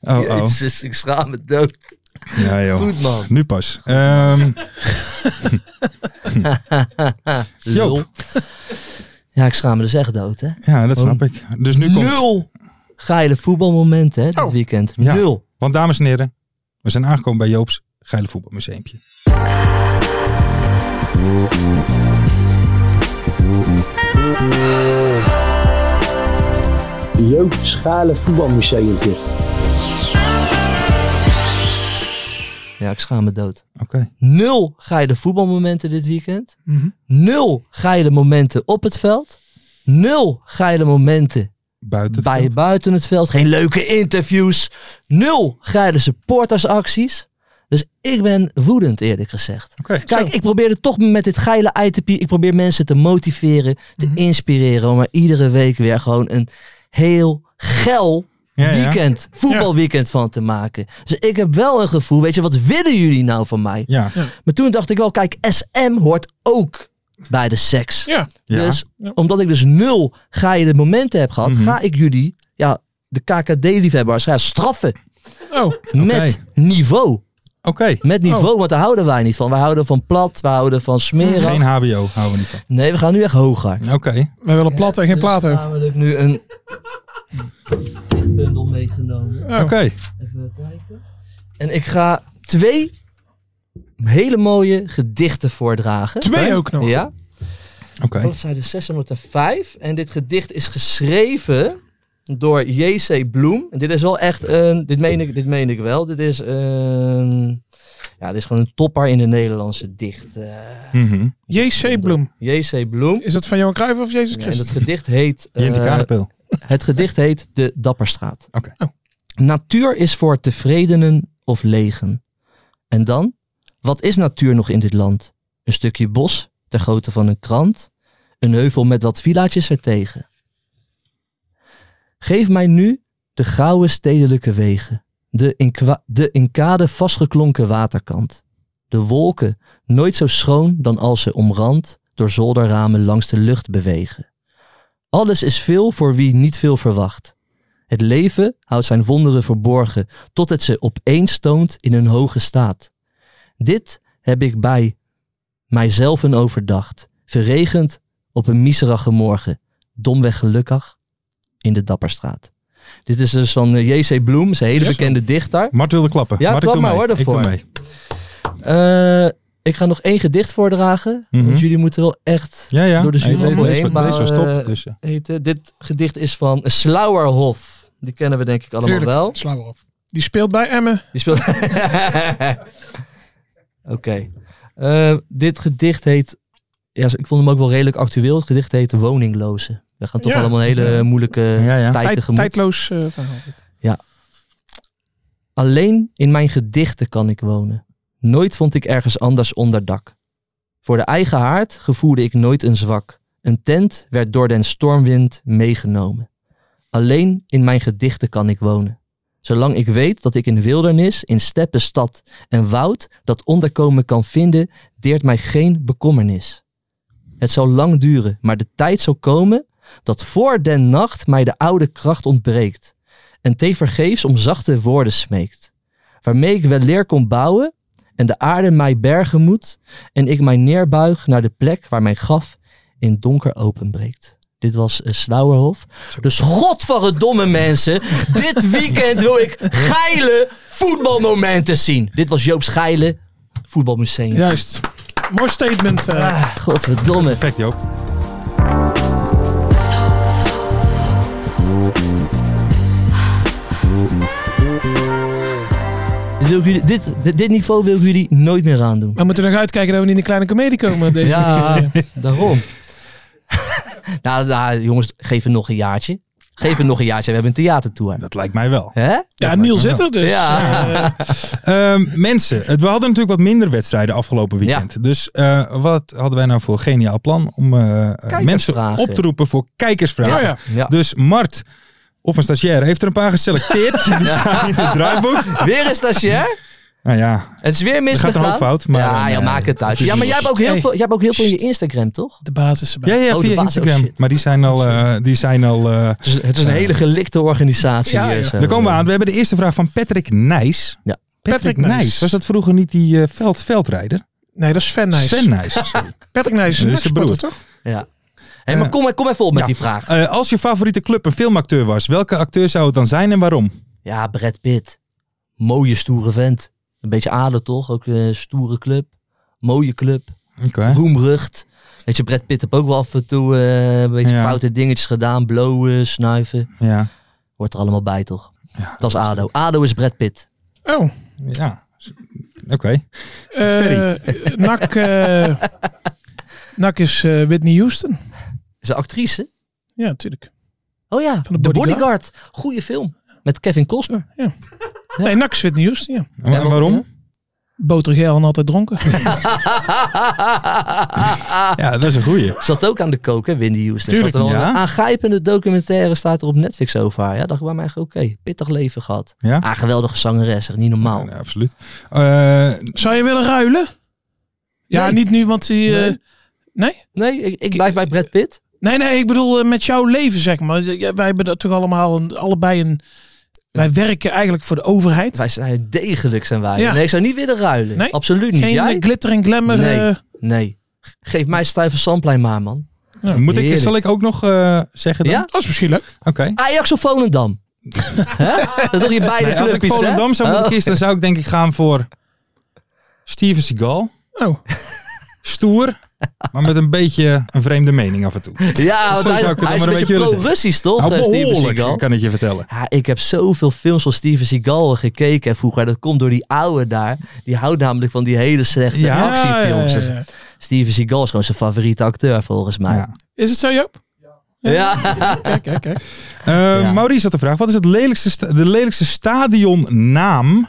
Speaker 3: Oh, oh.
Speaker 4: Jezus, ik schaam me dood.
Speaker 3: Ja, joh.
Speaker 4: Goed, man.
Speaker 3: Nu pas.
Speaker 4: (laughs)
Speaker 3: Ehm, Joop.
Speaker 4: Lul. Ja, ik schaam me dus echt dood, hè.
Speaker 3: ja, dat
Speaker 4: Oh.
Speaker 3: snap ik. Dus nu komt...
Speaker 4: Nul geile voetbalmomenten, hè, dit weekend.
Speaker 3: Oh. Ja.
Speaker 4: Nul.
Speaker 3: Want dames en heren, we zijn aangekomen bij Joop's Geile Voetbalmuseumpje.
Speaker 8: grootschalig voetbalmuseumpje.
Speaker 4: Ja, ik schaam me dood.
Speaker 3: Oké.
Speaker 4: Nul geile voetbalmomenten dit weekend.
Speaker 5: Mhm.
Speaker 4: Nul geile momenten op het veld. Nul geile momenten
Speaker 3: Buiten. het
Speaker 4: bij
Speaker 3: veld.
Speaker 4: buiten het veld. Geen leuke interviews. Nul geile supportersacties. Dus ik ben woedend eerlijk gezegd.
Speaker 3: Oké,
Speaker 4: Kijk, ik probeer het toch met dit geile ITP. Ik probeer mensen te motiveren, te
Speaker 3: Mhm.
Speaker 4: inspireren. Om er iedere week weer gewoon een heel geil
Speaker 3: Ja, ja.
Speaker 4: weekend, voetbalweekend van te maken. Dus ik heb wel een gevoel, weet je, wat willen jullie nou van mij?
Speaker 3: Ja.
Speaker 4: Maar toen dacht ik wel, kijk, SM hoort ook bij de seks.
Speaker 5: Ja.
Speaker 3: Ja.
Speaker 4: Dus
Speaker 5: Ja.
Speaker 4: omdat ik dus nul geile momenten heb gehad,
Speaker 3: Mhm.
Speaker 4: ga ik jullie, ja, de KKD-liefhebbers, ja, straffen.
Speaker 5: Oh,
Speaker 4: Met niveau.
Speaker 3: Oké.
Speaker 4: Met
Speaker 3: Oh.
Speaker 4: niveau, want daar houden wij niet van. Wij houden van plat, we houden van
Speaker 3: Geen
Speaker 4: smeren.
Speaker 3: HBO houden we niet van.
Speaker 4: Nee, we gaan nu echt hoger.
Speaker 3: Oké.
Speaker 5: wij willen plat en geen plaat
Speaker 4: Dus
Speaker 5: over.
Speaker 4: namelijk nu een (laughs) bundel meegenomen.
Speaker 5: Oh.
Speaker 3: Oké.
Speaker 4: Even kijken. En ik ga twee hele mooie gedichten voordragen.
Speaker 5: Twee ook nog.
Speaker 4: Ja,
Speaker 3: Oké.
Speaker 4: dat zijn de 605. En dit gedicht is geschreven door J.C. Bloem. En dit is wel echt een... Dit meen ik, dit meen ik wel. Dit is een... Ja, dit is gewoon een topper in de Nederlandse dicht. eh,
Speaker 3: Mhm.
Speaker 5: J.C. Bloem.
Speaker 4: J.C. Bloem.
Speaker 5: Is dat van Johan Cruijff of Jezus
Speaker 4: Ja, en
Speaker 5: Christus?
Speaker 4: het gedicht heet... eh,
Speaker 3: Jinte Kanepil.
Speaker 4: het gedicht heet De Dapperstraat.
Speaker 3: Oké.
Speaker 4: Natuur is voor tevredenen of legen. En dan? Wat is natuur nog in dit land? Een stukje bos, ter grootte van een krant. Een heuvel met wat villaatjes ertegen. Geef mij nu de grauwe stedelijke wegen. De in, kwa- de in kade vastgeklonken waterkant. De wolken, nooit zo schoon dan als ze omrand door zolderramen langs de lucht bewegen. Alles is veel voor wie niet veel verwacht. Het leven houdt zijn wonderen verborgen tot het ze opeens toont in hun hoge staat. Dit heb ik bij mijzelf een overdacht, verregend op een miserige morgen, domweg gelukkig in de Dapperstraat. Dit is dus van eh, J.C. Bloem, zijn hele bekende dichter.
Speaker 3: Mart wilde klappen.
Speaker 4: Ja,
Speaker 3: Mart, ik doe
Speaker 4: klap maar
Speaker 3: mee.
Speaker 4: hoor,
Speaker 3: Ik doe
Speaker 4: daarvoor.
Speaker 3: mee.
Speaker 4: Eh, ik ga nog één gedicht voordragen,
Speaker 3: Mhm.
Speaker 4: want jullie moeten wel echt
Speaker 3: Ja, ja.
Speaker 4: door de
Speaker 3: Hey,
Speaker 4: zuur
Speaker 3: deze-
Speaker 4: heen,
Speaker 3: deze,
Speaker 4: maar,
Speaker 3: deze was top.
Speaker 4: eh,
Speaker 3: Dus, eh,
Speaker 4: heten. Dit gedicht is van Slauerhof. Die kennen we denk ik allemaal
Speaker 5: Tuurlijk.
Speaker 4: wel.
Speaker 5: Sla maar op. Die speelt bij Emmen.
Speaker 4: Die speelt. (laughs) Oké. Eh, dit gedicht heet. Ja, ik vond hem ook wel redelijk actueel. Het gedicht heet Woninglozen. We gaan toch
Speaker 5: Ja.
Speaker 4: allemaal een hele eh, moeilijke
Speaker 3: Ja, ja.
Speaker 4: tijd
Speaker 5: Tijd-
Speaker 4: tegemoet.
Speaker 5: tijdloos eh, verhaal.
Speaker 4: Alleen in mijn gedichten kan ik wonen. Nooit vond ik ergens anders onderdak. Voor de eigen haard gevoelde ik nooit een zwak. Een tent werd door den stormwind meegenomen. Alleen in mijn gedichten kan ik wonen. Zolang ik weet dat ik in wildernis, in steppen, stad en woud dat onderkomen kan vinden, deert mij geen bekommernis. Het zal lang duren, maar de tijd zal komen dat voor den nacht mij de oude kracht ontbreekt en tevergeefs om zachte woorden smeekt, waarmee ik wel leer kon bouwen en de aarde mij bergen moet en ik mij neerbuig naar de plek waar mijn graf in donker openbreekt. Dit was eh, Slauerhof. Dus godverdomme mensen, dit weekend wil ik geile voetbalmomenten zien. Dit was Joop's geile voetbalmuseum.
Speaker 5: Juist. Mooi statement. eh.
Speaker 4: Ah, godverdomme.
Speaker 3: Perfect, Joop.
Speaker 4: Dit, wil ik jullie, dit, dit, dit niveau wil ik jullie nooit meer aandoen.
Speaker 5: Maar we moeten nog uitkijken dat we niet in de kleine komedie
Speaker 4: (laughs)
Speaker 5: komen. Deze
Speaker 4: Ja,
Speaker 5: keer.
Speaker 4: daarom. nou, nou, jongens, geef het nog een jaartje. Geef het nog een jaartje. We hebben een theatertour.
Speaker 3: Dat lijkt mij wel.
Speaker 4: Hè?
Speaker 5: ja
Speaker 3: lijkt me
Speaker 5: Niel zit er dus.
Speaker 4: Ja.
Speaker 5: Eh,
Speaker 3: Ehm, mensen, het- we hadden natuurlijk wat minder wedstrijden afgelopen weekend. Dus eh, wat hadden wij nou voor geniaal plan om eh, eh, mensen
Speaker 4: Kijkersvragen.
Speaker 3: op te roepen voor kijkersvragen?
Speaker 5: oh ja.
Speaker 4: Ja.
Speaker 3: Dus Mart, of een stagiair, heeft er een paar geselecteerd. (laughs) Die staan in het draaiboek.
Speaker 4: Weer een stagiair.
Speaker 3: Nou ja,
Speaker 4: Het is weer
Speaker 3: er gaat
Speaker 4: misgegaan.
Speaker 3: een hoop fout. Maar,
Speaker 4: ja, ja,
Speaker 3: eh,
Speaker 4: maak het thuis.
Speaker 3: is
Speaker 4: Ja, maar
Speaker 3: niet
Speaker 4: jij hebt ook heel
Speaker 5: Hey.
Speaker 4: veel, jij hebt ook heel veel in je Instagram, toch?
Speaker 5: De basis erbij.
Speaker 3: Ja, ja,
Speaker 4: Oh, de
Speaker 3: via
Speaker 4: baas, oh
Speaker 3: Instagram.
Speaker 4: shit.
Speaker 3: maar die zijn al... eh, die zijn al eh,
Speaker 4: Het is, het is een hele gelikte organisatie
Speaker 5: Ja,
Speaker 4: hier.
Speaker 5: ja.
Speaker 4: zo.
Speaker 3: daar komen we aan. We hebben de eerste vraag van Patrick Nijs.
Speaker 4: Ja.
Speaker 3: Patrick,
Speaker 5: Patrick
Speaker 3: Nijs.
Speaker 5: Nijs.
Speaker 3: Was dat vroeger niet die eh, veld, veldrijder?
Speaker 5: Nee, dat is Sven Nijs.
Speaker 3: Sven Nijs.
Speaker 4: (laughs)
Speaker 3: sorry.
Speaker 5: Patrick Nijs is
Speaker 3: Dat
Speaker 5: een
Speaker 3: is de
Speaker 5: sporter,
Speaker 3: broer.
Speaker 5: toch?
Speaker 4: Ja. Hey, maar kom, kom even op met
Speaker 3: Ja.
Speaker 4: die vraag.
Speaker 3: Eh, als je favoriete club een filmacteur was, welke acteur zou het dan zijn en waarom?
Speaker 4: Ja, Brad Pitt. Mooie, stoere vent. Een beetje adel, toch? Ook een stoere club. Mooie club.
Speaker 3: Oké.
Speaker 4: roemrucht. Weet je, Brad Pitt heeft ook wel af en toe eh, een beetje
Speaker 3: Ja.
Speaker 4: foute dingetjes gedaan. Blowen, snuiven.
Speaker 3: Ja.
Speaker 4: Hoort er allemaal bij, toch? dat is ADO. ADO is Brad Pitt.
Speaker 5: Oh.
Speaker 3: Ja. Oké. Okay.
Speaker 5: Eh Nak,
Speaker 4: (laughs)
Speaker 5: eh, Nak is eh, Whitney Houston.
Speaker 4: Is een actrice.
Speaker 5: Ja, natuurlijk.
Speaker 4: Oh ja,
Speaker 5: Van de
Speaker 4: The
Speaker 5: Bodyguard.
Speaker 4: Bodyguard. Goeie film. Met Kevin
Speaker 5: (laughs)
Speaker 4: Costner.
Speaker 5: Nee, Nak is Whitney Houston, ja.
Speaker 3: En waarom?
Speaker 5: Botergeel en altijd
Speaker 4: (laughs)
Speaker 5: dronken.
Speaker 3: Ja, dat is een goeie.
Speaker 4: Zat ook aan de kook, hè, Windy Houston.
Speaker 3: Tuurlijk,
Speaker 4: Zat er wel
Speaker 3: ja.
Speaker 4: Een aangrijpende documentaire staat er op Netflix over haar. Ja, dacht ik bij mij eigenlijk, oké, pittig leven gehad.
Speaker 3: Ja?
Speaker 4: Ah, geweldige zangeres, echt niet normaal.
Speaker 3: Ja, absoluut. Eh,
Speaker 5: Zou je willen ruilen? Ja,
Speaker 4: Nee.
Speaker 5: niet nu, want die... eh,
Speaker 4: Nee.
Speaker 5: nee. nee?
Speaker 4: Nee, ik, ik blijf bij Brad Pitt.
Speaker 5: Nee, ik bedoel eh, met jouw leven, zeg maar. Ja, Wij hebben dat toch allemaal een, allebei een... Wij werken eigenlijk voor de overheid.
Speaker 4: Wij zijn degelijk, zijn wij.
Speaker 5: Ja.
Speaker 4: Nee, ik zou niet willen ruilen.
Speaker 5: Nee.
Speaker 4: Absoluut niet.
Speaker 5: Geen
Speaker 4: Jij?
Speaker 5: eh, glitter en glamour.
Speaker 4: Nee.
Speaker 5: eh,
Speaker 4: Nee. Geef mij stijve zandplein maar, man.
Speaker 3: moet ik,
Speaker 4: heerlijk.
Speaker 3: zal ik ook nog eh, zeggen dan?
Speaker 4: Ja?
Speaker 5: dat is misschien leuk.
Speaker 3: Oké.
Speaker 4: Ajax of
Speaker 3: (laughs)
Speaker 4: Volendam? Hè? dat doe je beide
Speaker 3: Nee, als ik
Speaker 4: clubjes, hè?
Speaker 3: Volendam zou moeten
Speaker 4: Oh.
Speaker 3: kiezen, dan zou ik denk ik gaan voor Steven Seagal.
Speaker 5: Oh,
Speaker 3: Stoer, maar met een beetje een vreemde mening af en toe.
Speaker 4: Ja, want
Speaker 3: (laughs) Zo
Speaker 4: hij,
Speaker 3: zou ik het
Speaker 4: hij
Speaker 3: dan maar
Speaker 4: is een
Speaker 3: een
Speaker 4: beetje
Speaker 3: beetje willen
Speaker 4: pro-Russisch, toch?
Speaker 3: Nou,
Speaker 4: eh, Steven Seagal?
Speaker 3: behoorlijk, kan ik je vertellen.
Speaker 4: Ja, ik heb zoveel films van Steven Seagal gekeken vroeger. Dat komt door die oude daar. Die houdt namelijk van die hele slechte
Speaker 3: Ja,
Speaker 4: actiefilms.
Speaker 5: ja, ja, ja.
Speaker 4: Steven Seagal is gewoon zijn favoriete acteur volgens mij.
Speaker 3: Ja.
Speaker 4: Ja.
Speaker 5: Is het zo, Joop? Kijk, kijk, kijk.
Speaker 3: Eh,
Speaker 4: Ja.
Speaker 3: Maurice had de vraag: wat is het lelijkste sta- de lelijkste stadionnaam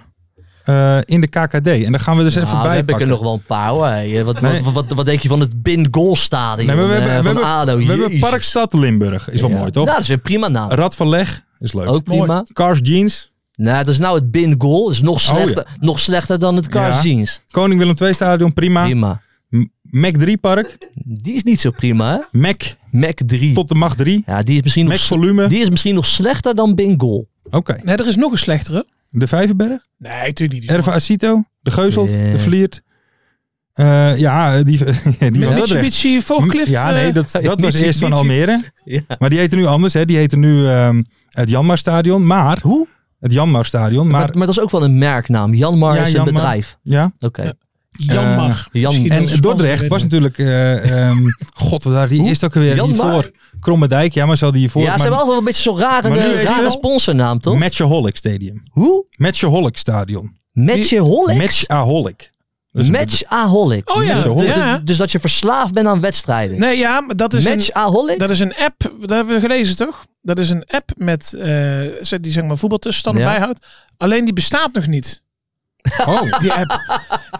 Speaker 3: eh, in de KKD? En dan gaan we dus
Speaker 4: Nou,
Speaker 3: even
Speaker 4: dan
Speaker 3: bij
Speaker 4: heb ik er
Speaker 3: pakken.
Speaker 4: nog wel een paar hoor. Hey, Wat,
Speaker 3: Nee.
Speaker 4: wat, wat, wat denk je van het Bin Goal Stadion
Speaker 3: Nee, maar we
Speaker 4: eh,
Speaker 3: hebben, we
Speaker 4: van
Speaker 3: hebben,
Speaker 4: ADO?
Speaker 3: we hebben
Speaker 4: Jezus.
Speaker 3: Parkstad Limburg, is wel mooi toch?
Speaker 4: Nou, dat is weer prima naam.
Speaker 3: Rad van Leg is leuk.
Speaker 4: Ook prima. Mooi.
Speaker 3: Cars Jeans. Nou,
Speaker 4: Nou, dat is nou het Bin Goal. Dat is nog
Speaker 3: Oh, ja.
Speaker 4: slechter, nog slechter dan het Cars
Speaker 3: Ja.
Speaker 4: Jeans.
Speaker 3: Koning Willem II Stadion, prima.
Speaker 4: Prima.
Speaker 3: M- Mac 3 Park.
Speaker 4: Die is niet zo prima hè.
Speaker 3: Mac
Speaker 4: Mac 3.
Speaker 3: tot de macht 3.
Speaker 4: Ja, die is misschien, nog,
Speaker 3: Mac
Speaker 4: s-
Speaker 3: volume.
Speaker 4: die is misschien nog slechter dan Bin Goal.
Speaker 3: Oké.
Speaker 5: Nee, er is nog een slechtere.
Speaker 3: De Vijverberg.
Speaker 5: Nee, natuurlijk niet.
Speaker 3: Erva Acito. De Geuselt.
Speaker 4: Ja.
Speaker 3: De Vliert. Eh, ja, die, (laughs) die van Dordrecht.
Speaker 5: Mitsubishi, Voogcliff.
Speaker 3: Ja, nee, (laughs) dat, dat was
Speaker 4: Mitsubishi.
Speaker 3: eerst van Almere.
Speaker 4: Ja.
Speaker 3: Maar die heette nu anders, hè. Die heette nu ehm, het Janmarstadion. Maar... Hoe? Het Janmarstadion.
Speaker 4: Maar,
Speaker 3: Maar...
Speaker 4: maar, dat is ook wel een merknaam. Janmar
Speaker 3: Ja,
Speaker 4: is een
Speaker 3: Janmar.
Speaker 4: bedrijf.
Speaker 3: Ja.
Speaker 4: Oké.
Speaker 5: Jan Mag.
Speaker 4: Jan-
Speaker 5: Misschien
Speaker 3: En
Speaker 5: onze sponsor,
Speaker 3: Dordrecht
Speaker 5: weet
Speaker 3: was
Speaker 5: ik
Speaker 3: natuurlijk... eh, ehm, (laughs) God, wat daar die
Speaker 4: Hoe?
Speaker 3: is ook weer
Speaker 4: Janmar?
Speaker 3: hiervoor. Kromme Dijk. Ja, maar ze hadden hiervoor...
Speaker 4: ja, ze
Speaker 3: maar,
Speaker 4: hebben altijd wel een beetje zo'n rare,
Speaker 3: Maar nu heet
Speaker 4: rare
Speaker 3: hij-
Speaker 4: sponsornaam, toch?
Speaker 3: Matchaholic Stadium.
Speaker 4: Hoe?
Speaker 3: Matchaholic Stadion.
Speaker 4: Matchaholic?
Speaker 3: Matchaholic. Dat is een
Speaker 4: Matchaholic.
Speaker 5: Oh ja,
Speaker 4: Dus- dus-
Speaker 5: ja.
Speaker 4: Dus, dat je verslaafd bent aan wedstrijden.
Speaker 5: Nee, ja, maar dat is een...
Speaker 4: Matchaholic? (laughs)
Speaker 5: Dat is een app, dat hebben we gelezen toch? Dat is een app met, eh, die zeg maar voetbaltussenstanden
Speaker 4: Ja.
Speaker 5: bijhoudt. Alleen die bestaat nog niet,
Speaker 3: Oh,
Speaker 5: die app.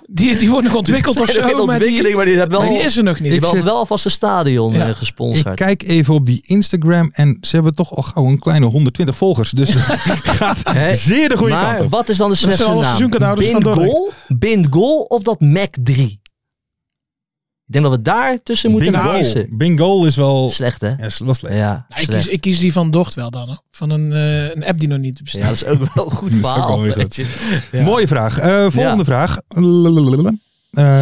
Speaker 5: die, die wordt nog ontwikkeld of
Speaker 4: Er is geen
Speaker 5: zo, maar die,
Speaker 4: ontwikkeling, maar die hebben
Speaker 5: maar
Speaker 4: wel,
Speaker 5: die is er nog niet.
Speaker 4: die hebben
Speaker 3: zit-
Speaker 4: wel alvast een stadion
Speaker 5: Ja.
Speaker 4: eh,
Speaker 3: ik
Speaker 4: gesponsord.
Speaker 3: kijk even op die Instagram en ze hebben toch al gauw een kleine 120 volgers.
Speaker 4: (laughs)
Speaker 3: Dus (laughs)
Speaker 4: Hè?
Speaker 3: zeer de goede kant
Speaker 4: Maar
Speaker 3: op.
Speaker 4: wat is dan de
Speaker 5: zijn
Speaker 4: slechtste
Speaker 5: alle
Speaker 4: naam?
Speaker 5: seizoenkaarthouders van
Speaker 4: Bind
Speaker 5: Dordrecht.
Speaker 4: goal, bind goal of dat Mac 3? Ik denk dat we daar tussen moeten gaan
Speaker 3: Bingo.
Speaker 4: kiezen.
Speaker 3: Bingo is wel,
Speaker 4: Slecht hè?
Speaker 3: ja, is wel slecht.
Speaker 4: Ja,
Speaker 5: Nou, ik,
Speaker 4: slecht.
Speaker 5: kies, ik kies die van Docht wel dan, hoor. van een, eh, een app die nog niet bestaat.
Speaker 4: Ja, Nou, dat is ook wel een goed
Speaker 3: (laughs) Dat is ook wel
Speaker 4: verhaal.
Speaker 3: weer
Speaker 4: weet je. Ja.
Speaker 3: Mooie vraag. Eh, volgende
Speaker 4: Ja.
Speaker 3: vraag. Lalalala.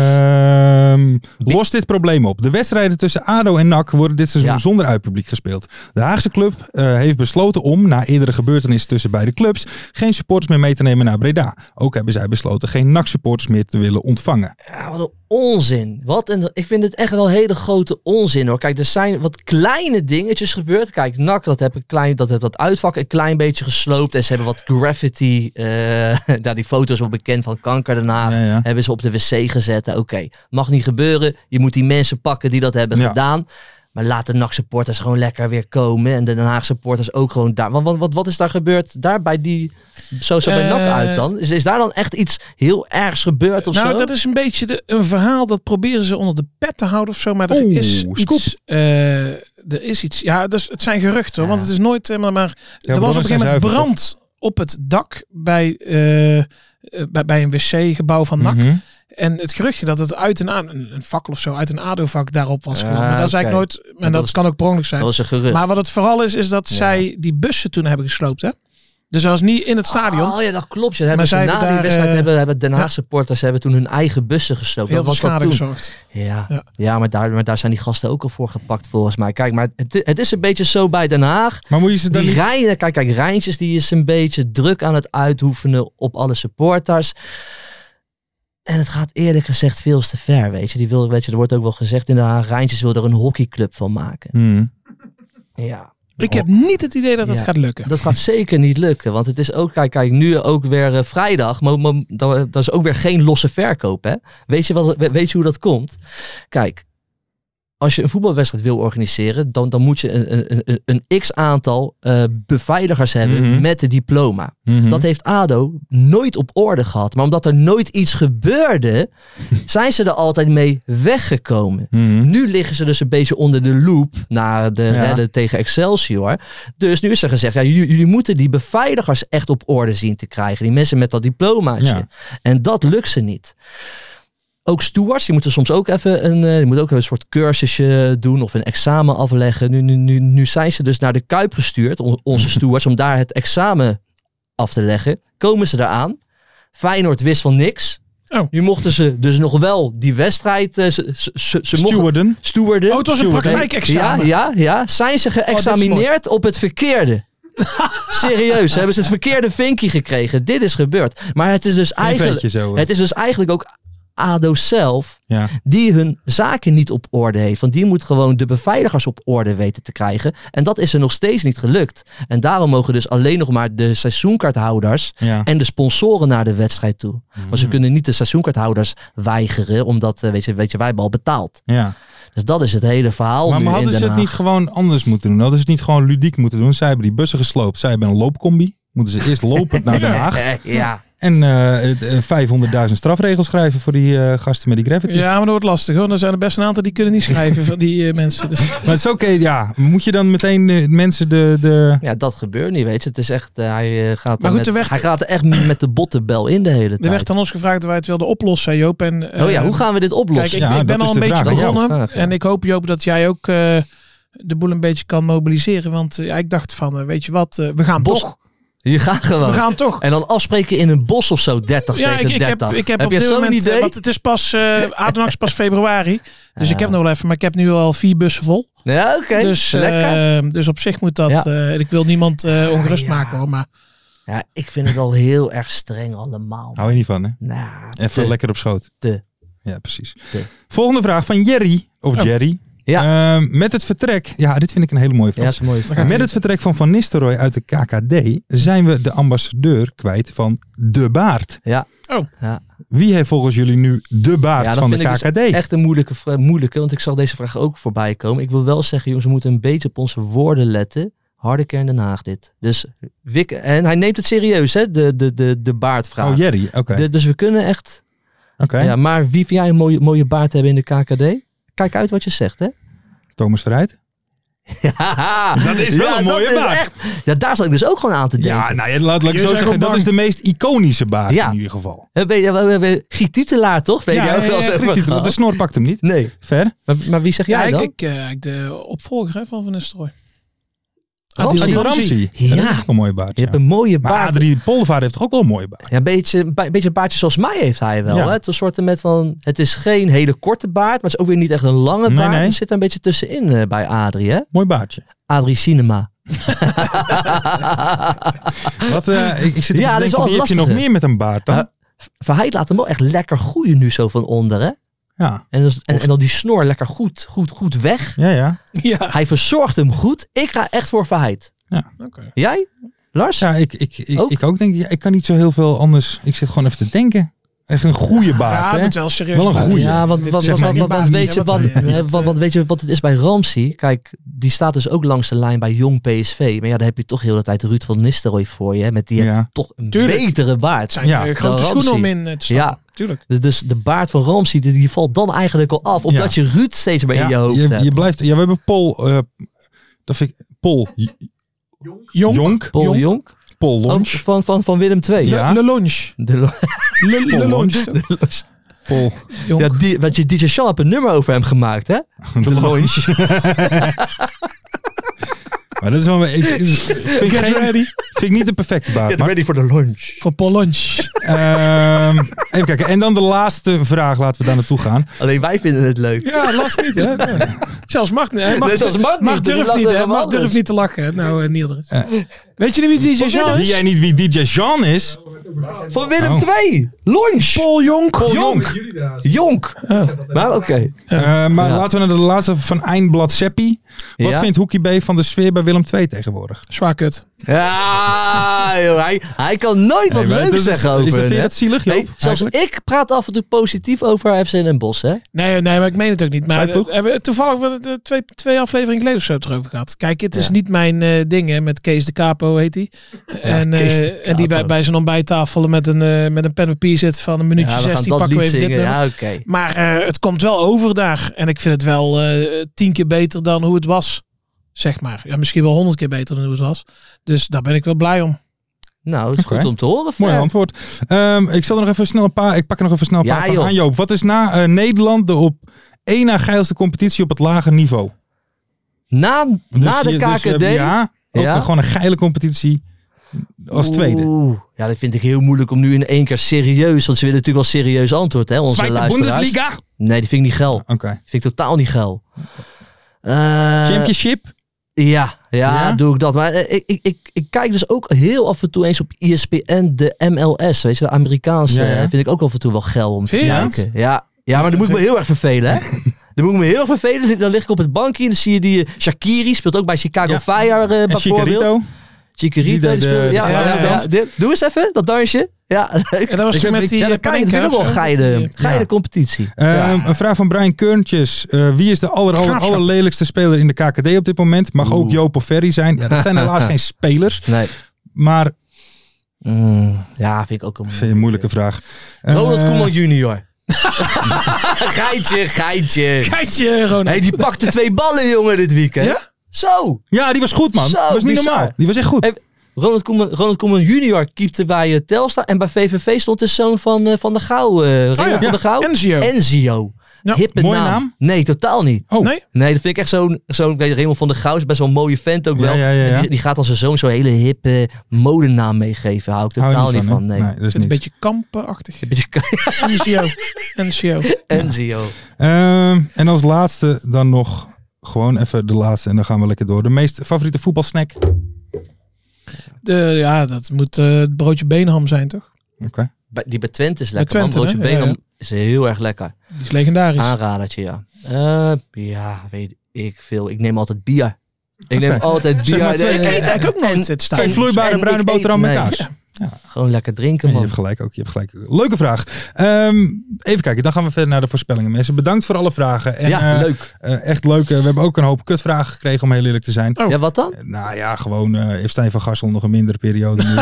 Speaker 3: Ehm, lost dit probleem op? De wedstrijden tussen ADO en NAC worden dit seizoen
Speaker 4: Ja.
Speaker 3: zonder uitpubliek gespeeld. De Haagse club eh, heeft besloten om, na eerdere gebeurtenissen tussen beide clubs, geen supporters meer mee te nemen naar Breda. Ook hebben zij besloten geen NAC-supporters meer te willen ontvangen.
Speaker 4: Ja, wat een onzin. Wat een, ik vind het echt wel hele grote onzin hoor. Kijk, er zijn wat kleine dingetjes gebeurd. Kijk, NAC, dat heb een klein, dat, heb dat uitvak een klein beetje gesloopt. En ze hebben wat graffiti, eh, (laughs) daar die foto's wel bekend van kanker daarna.
Speaker 3: Ja, ja.
Speaker 4: Hebben ze op de wc gezet. Nou, Oké, mag niet gebeuren. Je moet die mensen pakken die dat hebben
Speaker 3: Ja.
Speaker 4: gedaan. Maar laat de NAC-supporters gewoon lekker weer komen. En de Den Haag-supporters ook gewoon daar. Want wat, wat, wat is daar gebeurd? Daar bij die... Zo zag bij
Speaker 5: Eh,
Speaker 4: NAC uit dan. Is, is daar dan echt iets heel ergs gebeurd of
Speaker 5: nou,
Speaker 4: zo?
Speaker 5: dat is een beetje de, een verhaal dat proberen ze onder de pet te houden of zo. Maar er
Speaker 3: Oeh,
Speaker 5: is
Speaker 3: scoop.
Speaker 5: iets. eh, er is iets. Ja, dus het zijn geruchten, hoor, want het is nooit helemaal. Maar er was op
Speaker 3: bronnen
Speaker 5: een
Speaker 3: zijn
Speaker 5: gegeven moment
Speaker 3: zuiver,
Speaker 5: brand op het dak bij, eh, eh, bij, bij een wc-gebouw van NAC.
Speaker 3: Mhm.
Speaker 5: En het geruchtje dat het uit een, aan- een, een fakkel of zo uit een ADO-vak daarop was.
Speaker 4: Ja,
Speaker 5: gekomen. maar dat is eigenlijk nooit. En
Speaker 4: dat
Speaker 5: dat,
Speaker 4: is-
Speaker 5: kan ook per ongeluk zijn.
Speaker 4: Dat is een gerucht.
Speaker 5: Maar wat het vooral is, is dat
Speaker 4: Ja.
Speaker 5: zij die bussen toen hebben gesloopt, hè? Dus dat was niet in het stadion.
Speaker 4: Oh ja, dat klopt. Ja, dat hebben ze
Speaker 5: zij
Speaker 4: na
Speaker 5: hebben
Speaker 4: die
Speaker 5: daar,
Speaker 4: wedstrijd
Speaker 5: eh,
Speaker 4: hebben, hebben Den Haag supporters hebben toen hun eigen bussen gesloopt.
Speaker 5: heel
Speaker 4: Dat
Speaker 5: veel
Speaker 4: was dat
Speaker 5: schade
Speaker 4: toen.
Speaker 5: gezorgd.
Speaker 4: Ja, ja.
Speaker 5: Ja.
Speaker 4: maar, daar, maar daar zijn die gasten ook al voor gepakt volgens mij. Kijk, maar het, het is een beetje zo bij Den Haag.
Speaker 3: Maar moet je ze dan
Speaker 4: Die
Speaker 3: niet...
Speaker 4: Rijn, kijk, kijk, Rijntjes die is een beetje druk aan het uitoefenen op alle supporters. En het gaat eerlijk gezegd veel te ver, weet je. Die wil, weet je er wordt ook wel gezegd in Den Haag, Rijntjes wil er een hockeyclub van maken.
Speaker 3: Hmm.
Speaker 4: Ja.
Speaker 5: Ik heb niet het idee dat dat
Speaker 4: Ja.
Speaker 5: gaat lukken.
Speaker 4: Dat gaat zeker niet lukken. Want het is ook, kijk, kijk nu ook weer eh, vrijdag. Maar, maar dat, eh, dat is ook weer geen losse verkoop. Hè? Weet, je wat, we- weet je hoe dat komt? Kijk, als je een voetbalwedstrijd wil organiseren, dan, dan moet je een, een- een, een x aantal eh, beveiligers hebben
Speaker 3: Mhm.
Speaker 4: met de diploma. Dat heeft ADO nooit op orde gehad. Maar omdat er nooit iets gebeurde, zijn ze er altijd mee weggekomen.
Speaker 3: Mhm.
Speaker 4: Nu liggen ze dus een beetje onder de loep naar de redden tegen Excelsior. Dus nu is er gezegd, ja, jullie, jullie moeten die beveiligers echt op orde zien te krijgen. Die mensen met dat diplomaatje.
Speaker 3: Ja.
Speaker 4: En dat lukt ze niet. Ook stewards, die moeten soms ook even een, eh, die moeten ook een soort cursusje doen of een examen afleggen. Nu, nu, nu, nu zijn ze dus naar de Kuip gestuurd, on- onze stewards, om daar het examen af te leggen. Komen ze eraan. Feyenoord wist van niks.
Speaker 5: Oh.
Speaker 4: Nu mochten ze dus nog wel die wedstrijd. eh, ze, ze, ze, ze mochten
Speaker 3: Stewarden.
Speaker 4: stewarden.
Speaker 5: Oh, het was een
Speaker 4: Stewarden.
Speaker 5: praktijkexamen.
Speaker 4: Ja, ja, ja. Zijn ze geëxamineerd op het verkeerde? Serieus, hebben ze het verkeerde vinkje gekregen. Dit is gebeurd. Maar het is dus, eigenlijk,
Speaker 3: ventje zo, hè.
Speaker 4: het is dus eigenlijk ook ADO zelf
Speaker 3: Ja.
Speaker 4: die hun zaken niet op orde heeft. Want die moet gewoon de beveiligers op orde weten te krijgen. En dat is er nog steeds niet gelukt. En daarom mogen dus alleen nog maar de seizoenkaarthouders
Speaker 3: Ja.
Speaker 4: en de sponsoren naar de wedstrijd toe. Want ze kunnen niet de seizoenkaarthouders weigeren, omdat eh, weet je, weet je, wij hebben al betaald.
Speaker 3: ja.
Speaker 4: Dus dat is het hele verhaal.
Speaker 3: Maar,
Speaker 4: nu
Speaker 3: maar
Speaker 4: in
Speaker 3: hadden ze
Speaker 4: Den
Speaker 3: het
Speaker 4: Haag.
Speaker 3: niet gewoon anders moeten doen? Hadden ze het niet gewoon ludiek moeten doen? Zij hebben die bussen gesloopt. Zij hebben een loopcombi. Moeten ze eerst
Speaker 4: (laughs)
Speaker 3: lopend naar Den Haag.
Speaker 4: Eh, ja.
Speaker 3: En eh, eh, 500.000 strafregels schrijven voor die eh, gasten met die gravity.
Speaker 5: Ja, maar dat wordt lastig hoor. Er zijn er best een aantal die
Speaker 4: (laughs)
Speaker 5: kunnen niet schrijven van die eh, mensen. Dus
Speaker 3: Maar het is oké, ja. Moet je dan meteen eh, mensen de... de...
Speaker 4: ja, dat gebeurt niet, weet je. Het is echt, eh, hij, eh, gaat
Speaker 5: Maar goed,
Speaker 4: er met,
Speaker 5: er werd-
Speaker 4: hij gaat er echt met de bottenbel in de hele tijd.
Speaker 5: er werd aan ons gevraagd of wij het wilden oplossen, zei Joop. En, eh,
Speaker 4: oh ja, hoe gaan we dit
Speaker 5: Kijk,
Speaker 4: oplossen?
Speaker 5: ik,
Speaker 3: Ja,
Speaker 5: ik ben
Speaker 3: dat
Speaker 5: al
Speaker 3: is de
Speaker 5: een beetje
Speaker 3: vraag aan jou.
Speaker 5: begonnen.
Speaker 4: Vraag, ja.
Speaker 5: En ik hoop, Joop, dat jij ook eh, de boel een beetje kan mobiliseren. Want eh, ja, ik dacht van, eh, weet je wat, eh, we gaan
Speaker 4: Bos-
Speaker 5: toch.
Speaker 4: Je gaat gewoon.
Speaker 5: We gaan toch.
Speaker 4: En dan afspreken in een bos of zo, 30
Speaker 5: Ja, ik,
Speaker 4: tegen
Speaker 5: ik,
Speaker 4: 30.
Speaker 5: heb, ik heb,
Speaker 4: heb
Speaker 5: op
Speaker 4: je
Speaker 5: dit
Speaker 4: zo'n
Speaker 5: moment, eh,
Speaker 4: idee?
Speaker 5: want het is pas,
Speaker 4: (laughs)
Speaker 5: eh Adenax is pas februari. Dus ik
Speaker 4: Ja.
Speaker 5: heb nog wel even, maar ik heb nu al vier bussen vol.
Speaker 4: Ja, oké.
Speaker 5: dus, eh,
Speaker 4: Lekker.
Speaker 5: dus op zich moet dat,
Speaker 4: Ja.
Speaker 5: eh, ik wil niemand
Speaker 3: Ah,
Speaker 5: eh, ongerust
Speaker 4: Ja.
Speaker 5: maken hoor. Maar
Speaker 4: Ja, ik vind het al heel erg streng allemaal.
Speaker 3: Hou je niet van, hè?
Speaker 4: Nou,
Speaker 3: Even
Speaker 4: te-
Speaker 3: lekker op schoot.
Speaker 4: te.
Speaker 3: Ja, precies.
Speaker 4: Te.
Speaker 3: Volgende vraag van Jerry. Of
Speaker 5: Oh.
Speaker 3: Jerry.
Speaker 4: Ja.
Speaker 3: Ehm, met het vertrek... Ja, dit vind ik een hele mooie
Speaker 4: Ja,
Speaker 3: vraag.
Speaker 4: dat is een mooie vraag.
Speaker 3: Met het vertrek van Van Nistelrooy uit de KKD zijn we de ambassadeur kwijt van de baard.
Speaker 4: Ja.
Speaker 5: Oh.
Speaker 4: Ja.
Speaker 3: Wie heeft volgens jullie nu de baard
Speaker 4: Ja, dat
Speaker 3: van de
Speaker 4: vind ik dus
Speaker 3: KKD?
Speaker 4: Echt een moeilijke, vra- moeilijke, want ik zag deze vraag ook voorbij komen. Ik wil wel zeggen, jongens, we moeten een beetje op onze woorden letten. Harde kern Den Haag dit. Dus Wik, en hij neemt het serieus, hè, de, de, de, de baardvraag.
Speaker 3: oh, Jerry. Oké.
Speaker 4: De- dus we kunnen echt...
Speaker 3: Oké.
Speaker 4: Ja, maar wie vind jij een mooie, mooie baard hebben in de KKD? Kijk uit wat je
Speaker 3: (laughs)
Speaker 4: zegt, hè?
Speaker 3: Thomas Verheid.
Speaker 4: Ja, dat
Speaker 3: is wel een mooie
Speaker 4: is
Speaker 3: baard.
Speaker 4: echt- ja, daar zat ik dus ook gewoon aan te denken.
Speaker 3: Ja, nou, ja, laat, laat ik
Speaker 5: Jullie
Speaker 3: zo
Speaker 5: zijn
Speaker 3: zeggen.
Speaker 5: gewoon
Speaker 3: Dat
Speaker 5: bang.
Speaker 3: is de meest iconische baard
Speaker 4: Ja.
Speaker 3: in ieder geval.
Speaker 4: Eh, weet je, we hebben Giet Titelaar, toch? Weet je ook wel eens
Speaker 3: ja,
Speaker 4: over
Speaker 3: Griet,
Speaker 4: gehad?
Speaker 3: want de snor pakt hem niet.
Speaker 4: Nee.
Speaker 3: Ver.
Speaker 4: Maar, maar wie zeg
Speaker 5: ja,
Speaker 4: jij
Speaker 5: ik,
Speaker 4: dan?
Speaker 5: ik, eh, ik de opvolger hè, van Van Nistelrooy.
Speaker 4: Ramsey.
Speaker 5: Adil
Speaker 4: Ramsey.
Speaker 3: Ja.
Speaker 4: Ja.
Speaker 3: Dat is ook een mooie baard.
Speaker 4: je
Speaker 3: ja.
Speaker 4: hebt een mooie
Speaker 3: Maar
Speaker 4: baard.
Speaker 3: Adrie Polvaar heeft toch ook wel een mooie baard.
Speaker 4: Ja, een beetje, een ba- beetje een baardje zoals mij heeft hij wel.
Speaker 3: Ja.
Speaker 4: Hè? Het, is een soort met van, het is geen hele korte baard, maar het is ook weer niet echt een lange
Speaker 3: Nee,
Speaker 4: baard.
Speaker 3: nee.
Speaker 4: Die zit daar een beetje tussenin eh, bij Adrie, hè?
Speaker 3: Mooi baardje.
Speaker 4: Adrie
Speaker 3: (laughs)
Speaker 4: Cinema.
Speaker 3: Wat, eh, ik, ik zit
Speaker 4: Ja,
Speaker 3: ja,
Speaker 4: dat is
Speaker 3: denken,
Speaker 4: Eh. wel
Speaker 3: wie heb je nog
Speaker 4: lastiger.
Speaker 3: meer met een baard dan?
Speaker 4: Ja. Verheid laat hem wel echt lekker groeien nu zo van onder, hè?
Speaker 3: Ja,
Speaker 4: En, dus- en, en dan die snor lekker goed, goed, goed weg.
Speaker 3: ja, (laughs) ja.
Speaker 5: Ja,
Speaker 4: Hij verzorgt hem goed. Ik ga echt voor Verheid.
Speaker 5: oké.
Speaker 4: Jij? Lars?
Speaker 3: Ja, ik, ik, ik,
Speaker 4: Ook?
Speaker 3: ik ook denk ik. ja, Ik kan niet zo heel veel anders. Ik zit gewoon even te denken. Echt een goede
Speaker 5: Ja,
Speaker 3: baard,
Speaker 5: het
Speaker 3: hè?
Speaker 5: moet wel serieus.
Speaker 3: Wel een
Speaker 5: blijven.
Speaker 3: goeie.
Speaker 4: Ah, Ja, want,
Speaker 5: Dit
Speaker 4: want,
Speaker 5: zeg
Speaker 4: want,
Speaker 5: maar
Speaker 4: want,
Speaker 5: geen
Speaker 4: want
Speaker 5: baas,
Speaker 4: weet
Speaker 5: hè,
Speaker 4: je wat,
Speaker 5: wat wij, eh,
Speaker 4: eh, want, want weet je wat het is bij Ramsey? Kijk, die staat dus ook langs de lijn bij jong PSV. Maar ja, daar heb je toch heel de tijd Ruud van Nistelrooy voor je. hè, Met die
Speaker 3: Ja.
Speaker 4: heeft toch een
Speaker 5: Tuurlijk.
Speaker 4: betere
Speaker 5: Het
Speaker 4: baard.
Speaker 5: zijn
Speaker 3: Ja.
Speaker 5: eh, grote
Speaker 4: Ramsey.
Speaker 5: schoenen om in eh, te staan.
Speaker 4: Ja.
Speaker 5: tuurlijk.
Speaker 4: Dus- Dus de baard van Ramsey, die, die valt dan eigenlijk al af. Omdat je Ruud steeds maar in je hoofd
Speaker 3: je,
Speaker 4: hebt.
Speaker 3: je blijft, ja, we hebben Paul. eh, dat vind ik. Paul. J-
Speaker 5: Jong,
Speaker 3: Jonk.
Speaker 4: Paul
Speaker 5: Jonk.
Speaker 4: Jonk.
Speaker 3: Paul Lonch.
Speaker 4: Oh, van, van, van Willem II.
Speaker 3: Ja.
Speaker 5: Le Lunch.
Speaker 4: De lo-
Speaker 5: Le,
Speaker 3: Paul
Speaker 5: Le
Speaker 3: Lonch.
Speaker 5: Lunch.
Speaker 4: de lo-
Speaker 3: Paul.
Speaker 5: Jonk.
Speaker 4: ja, die, want je DJ Sean hebt een nummer over hem gemaakt, hè?
Speaker 3: (laughs) De
Speaker 4: (laughs)
Speaker 3: Lonch. maar dat is wel. Ik,
Speaker 5: (laughs)
Speaker 3: ik- vind, ik geen- vind ik niet de perfecte baard. Maar,
Speaker 4: ready for the lunch.
Speaker 5: Voor Paul
Speaker 4: (laughs)
Speaker 5: Lunch.
Speaker 3: Ehm, even kijken. En dan de laatste vraag. Laten we daar naartoe gaan.
Speaker 4: Alleen wij vinden het leuk.
Speaker 5: Ja, lacht niet, hè? (laughs) Zelfs Mart, niet. Hij mag,
Speaker 4: Nee, zelfs Mart niet.
Speaker 5: Mart
Speaker 4: Die
Speaker 5: durft
Speaker 4: lacht
Speaker 5: niet, hè?
Speaker 4: helemaal
Speaker 5: Mart durft
Speaker 4: anders.
Speaker 5: niet te lachen. hè? Nou, eh, Niel. er is- Weet je niet wie DJ Jean
Speaker 3: Wie jij niet
Speaker 5: is?
Speaker 3: wie DJ Jean is?
Speaker 4: Van Willem
Speaker 3: Oh.
Speaker 4: 2. Lunch.
Speaker 5: Paul Jonk.
Speaker 4: Jonk. Jonk.
Speaker 5: Oh,
Speaker 4: Maar oké.
Speaker 3: Eh, maar
Speaker 4: Ja.
Speaker 3: laten we naar de laatste van Eindblad Seppi. Wat
Speaker 4: Ja.
Speaker 3: vindt Hoekie B van de sfeer bij Willem II tegenwoordig?
Speaker 5: Zwaar kut.
Speaker 4: Ja, joh, hij, hij kan nooit wat
Speaker 3: Nee, maar dat
Speaker 4: leuks
Speaker 3: is-
Speaker 4: zeggen
Speaker 3: is
Speaker 4: over
Speaker 3: dat-
Speaker 4: hen,
Speaker 3: vind je
Speaker 4: hè?
Speaker 3: dat zielig, Joop,
Speaker 4: Nee, zelfs
Speaker 3: eigenlijk?
Speaker 4: ik praat af en toe positief over FC Den Bosch, hè?
Speaker 5: Nee, nee, maar ik meen het ook niet. Maar
Speaker 3: Zuidploeg?
Speaker 5: eh, hebben we toevallig we het, eh, twee, twee afleveringen geleden of zo het erover gehad. Kijk, het is
Speaker 4: Ja.
Speaker 5: niet mijn eh, ding hè, met Kees de Capo, heet
Speaker 4: (laughs)
Speaker 5: hij. en, eh,
Speaker 4: Kees de
Speaker 5: en die bij,
Speaker 4: Capo.
Speaker 5: bij zijn ontbijttafel met een, eh, met een pen en papier zit van een minuutje
Speaker 4: Ja, we gaan
Speaker 5: 16
Speaker 4: dat
Speaker 5: pakken we
Speaker 4: lied
Speaker 5: even dit
Speaker 4: zingen.
Speaker 5: nummer.
Speaker 4: Ja, oké.
Speaker 5: Maar eh, het komt wel over daar. En ik vind het wel eh, tien keer beter dan hoe het was. Zeg maar. Ja, misschien wel honderd keer beter dan hoe het was. Dus daar ben ik wel blij om.
Speaker 4: Nou, dat is
Speaker 3: Oké.
Speaker 4: goed om te horen.
Speaker 3: Mooi
Speaker 4: Fer.
Speaker 3: antwoord. Ehm, ik zal er nog even snel een paar. Ik pak er nog even snel een
Speaker 4: Ja,
Speaker 3: paar van
Speaker 4: joh.
Speaker 3: aan Joop. Wat is na eh, Nederland de op één na geilste competitie op het lage niveau?
Speaker 4: Na,
Speaker 3: Dus
Speaker 4: na de
Speaker 3: je-
Speaker 4: KKD...
Speaker 3: dus we hebben- ja, ook
Speaker 4: Ja.
Speaker 3: een- gewoon een geile competitie als tweede.
Speaker 4: Oeh, ja, dat vind ik heel moeilijk om nu in één keer serieus... Want ze willen natuurlijk wel serieus antwoord, hè, onze
Speaker 3: Zweite
Speaker 4: luisteraars.
Speaker 3: Bundesliga. Oké.
Speaker 4: Nee, die vind ik niet geil. Die vind ik totaal niet geil. Eh,
Speaker 3: Championship.
Speaker 4: Ja, ja,
Speaker 3: Ja?
Speaker 4: doe ik dat. Maar eh, ik, ik, ik, ik kijk dus ook heel af en toe eens op E ESPN de MLS. Weet je, de Amerikaanse
Speaker 3: Ja, ja.
Speaker 4: eh, vind ik ook af en toe wel geil om te
Speaker 5: Vind je dat?
Speaker 4: kijken. Ja, ja, maar dan moet ik me heel erg vervelen, hè? Dan moet ik me heel erg vervelen. Dan lig ik op het bankje en dan zie je die eh, Shakiri speelt ook bij Chicago
Speaker 3: Ja.
Speaker 4: Fire eh
Speaker 3: En
Speaker 4: bijvoorbeeld.
Speaker 3: Chicharito. Die
Speaker 4: Chikorito.
Speaker 3: deed de- de
Speaker 4: ja, ja, ja,
Speaker 5: dans.
Speaker 4: ja. Dit- Doe eens even, dat dansje. Ja, (laughs) leuk.
Speaker 5: En dat was
Speaker 4: Ik
Speaker 5: toen
Speaker 4: heb-
Speaker 5: met die,
Speaker 4: ja, dat
Speaker 5: eh,
Speaker 4: kan ik. Dat vind
Speaker 5: Panenka
Speaker 4: ik wel
Speaker 5: of
Speaker 4: een
Speaker 5: zo.
Speaker 4: geile,
Speaker 5: Dat die-
Speaker 4: geile
Speaker 5: ja.
Speaker 4: competitie.
Speaker 3: Ehm, Een vraag van Brian Keurntjes. Eh, wie is de aller, aller,
Speaker 5: Graafschap.
Speaker 3: allerlelijkste speler in de KKD op dit moment? Mag ook Joop of Ferry zijn. Ja, dat zijn helaas geen spelers.
Speaker 4: Nee.
Speaker 3: Maar
Speaker 4: Mm, ja, vind ik ook een
Speaker 3: vind je een moeilijke vraag.
Speaker 4: Ronald
Speaker 3: Eh,
Speaker 4: Koeman junior. (laughs) geitje, geitje.
Speaker 5: Kijkje, Ronald.
Speaker 4: Hey, die pakte twee ballen, jongen, dit weekend.
Speaker 5: Ja?
Speaker 4: Zo.
Speaker 3: Ja, die was goed, man.
Speaker 4: Zo,
Speaker 3: Dat was niet
Speaker 4: bizar.
Speaker 3: normaal. Die was echt goed.
Speaker 4: Hey, Ronald Koeman, Ronald Koeman junior keepte bij eh, Telstar. En bij VVV stond de zoon van, eh, van de Gouw. eh
Speaker 3: Oh,
Speaker 4: Ronald
Speaker 5: ja.
Speaker 4: van de Gouw.
Speaker 5: Enzio.
Speaker 4: Enzio.
Speaker 5: Ja,
Speaker 4: Hippe
Speaker 3: mooie
Speaker 4: naam.
Speaker 3: naam.
Speaker 4: Nee, totaal niet.
Speaker 3: Oh.
Speaker 5: Nee?
Speaker 4: Nee, dat vind ik echt zo'n... zo'n weet je, Raymond van der Gouw is best wel een mooie vent ook
Speaker 3: Ja,
Speaker 4: wel.
Speaker 3: ja, ja, ja.
Speaker 4: Die, die gaat als zijn zoon zo'n hele hippe modenaam meegeven. Hou ik
Speaker 3: Hou je
Speaker 4: totaal niet van.
Speaker 3: hè?
Speaker 4: (laughs) nee.
Speaker 3: dat is
Speaker 5: Zit een
Speaker 3: niks.
Speaker 5: beetje kampenachtig.
Speaker 4: Beetje-
Speaker 5: NCO. NCO.
Speaker 4: Enzio.
Speaker 3: Ehm, en als laatste dan nog gewoon even de laatste en dan gaan we lekker door. De meest favoriete voetbalsnack. Oké.
Speaker 5: De, ja, dat moet eh, het broodje beenham zijn, toch?
Speaker 4: Bij- Die bij Twente is lekker.
Speaker 5: Twente,
Speaker 4: man. Broodje
Speaker 5: hè? Ja,
Speaker 4: Benham is heel erg lekker.
Speaker 5: Die is legendarisch.
Speaker 4: Ah, Aanradertje, ja. Eh, ja, weet ik veel. Ik neem altijd bier. Ik neem altijd bier.
Speaker 3: Zeg maar twee
Speaker 4: En-
Speaker 5: Ik
Speaker 4: en-
Speaker 5: eet eigenlijk ook nooit het
Speaker 3: Geen
Speaker 5: staan.
Speaker 3: vloeibare
Speaker 4: en
Speaker 3: bruine
Speaker 4: ik eet-
Speaker 3: boterham met
Speaker 4: nee.
Speaker 3: kaas.
Speaker 4: Ja. Gewoon lekker
Speaker 3: Ja,
Speaker 4: drinken,
Speaker 3: je
Speaker 4: man.
Speaker 3: hebt gelijk ook. Je hebt gelijk. Leuke vraag. Ehm, even kijken. Dan gaan we verder naar de voorspellingen. Mensen, bedankt voor alle vragen. En,
Speaker 4: ja,
Speaker 3: eh,
Speaker 4: leuk.
Speaker 3: eh, echt leuk. Eh, we hebben ook een hoop kutvragen gekregen om heel eerlijk te zijn.
Speaker 4: Ja, wat dan?
Speaker 3: Eh, Nou ja, gewoon eh heeft Stijn van Gassel nog een mindere periode
Speaker 4: (laughs)
Speaker 3: nu.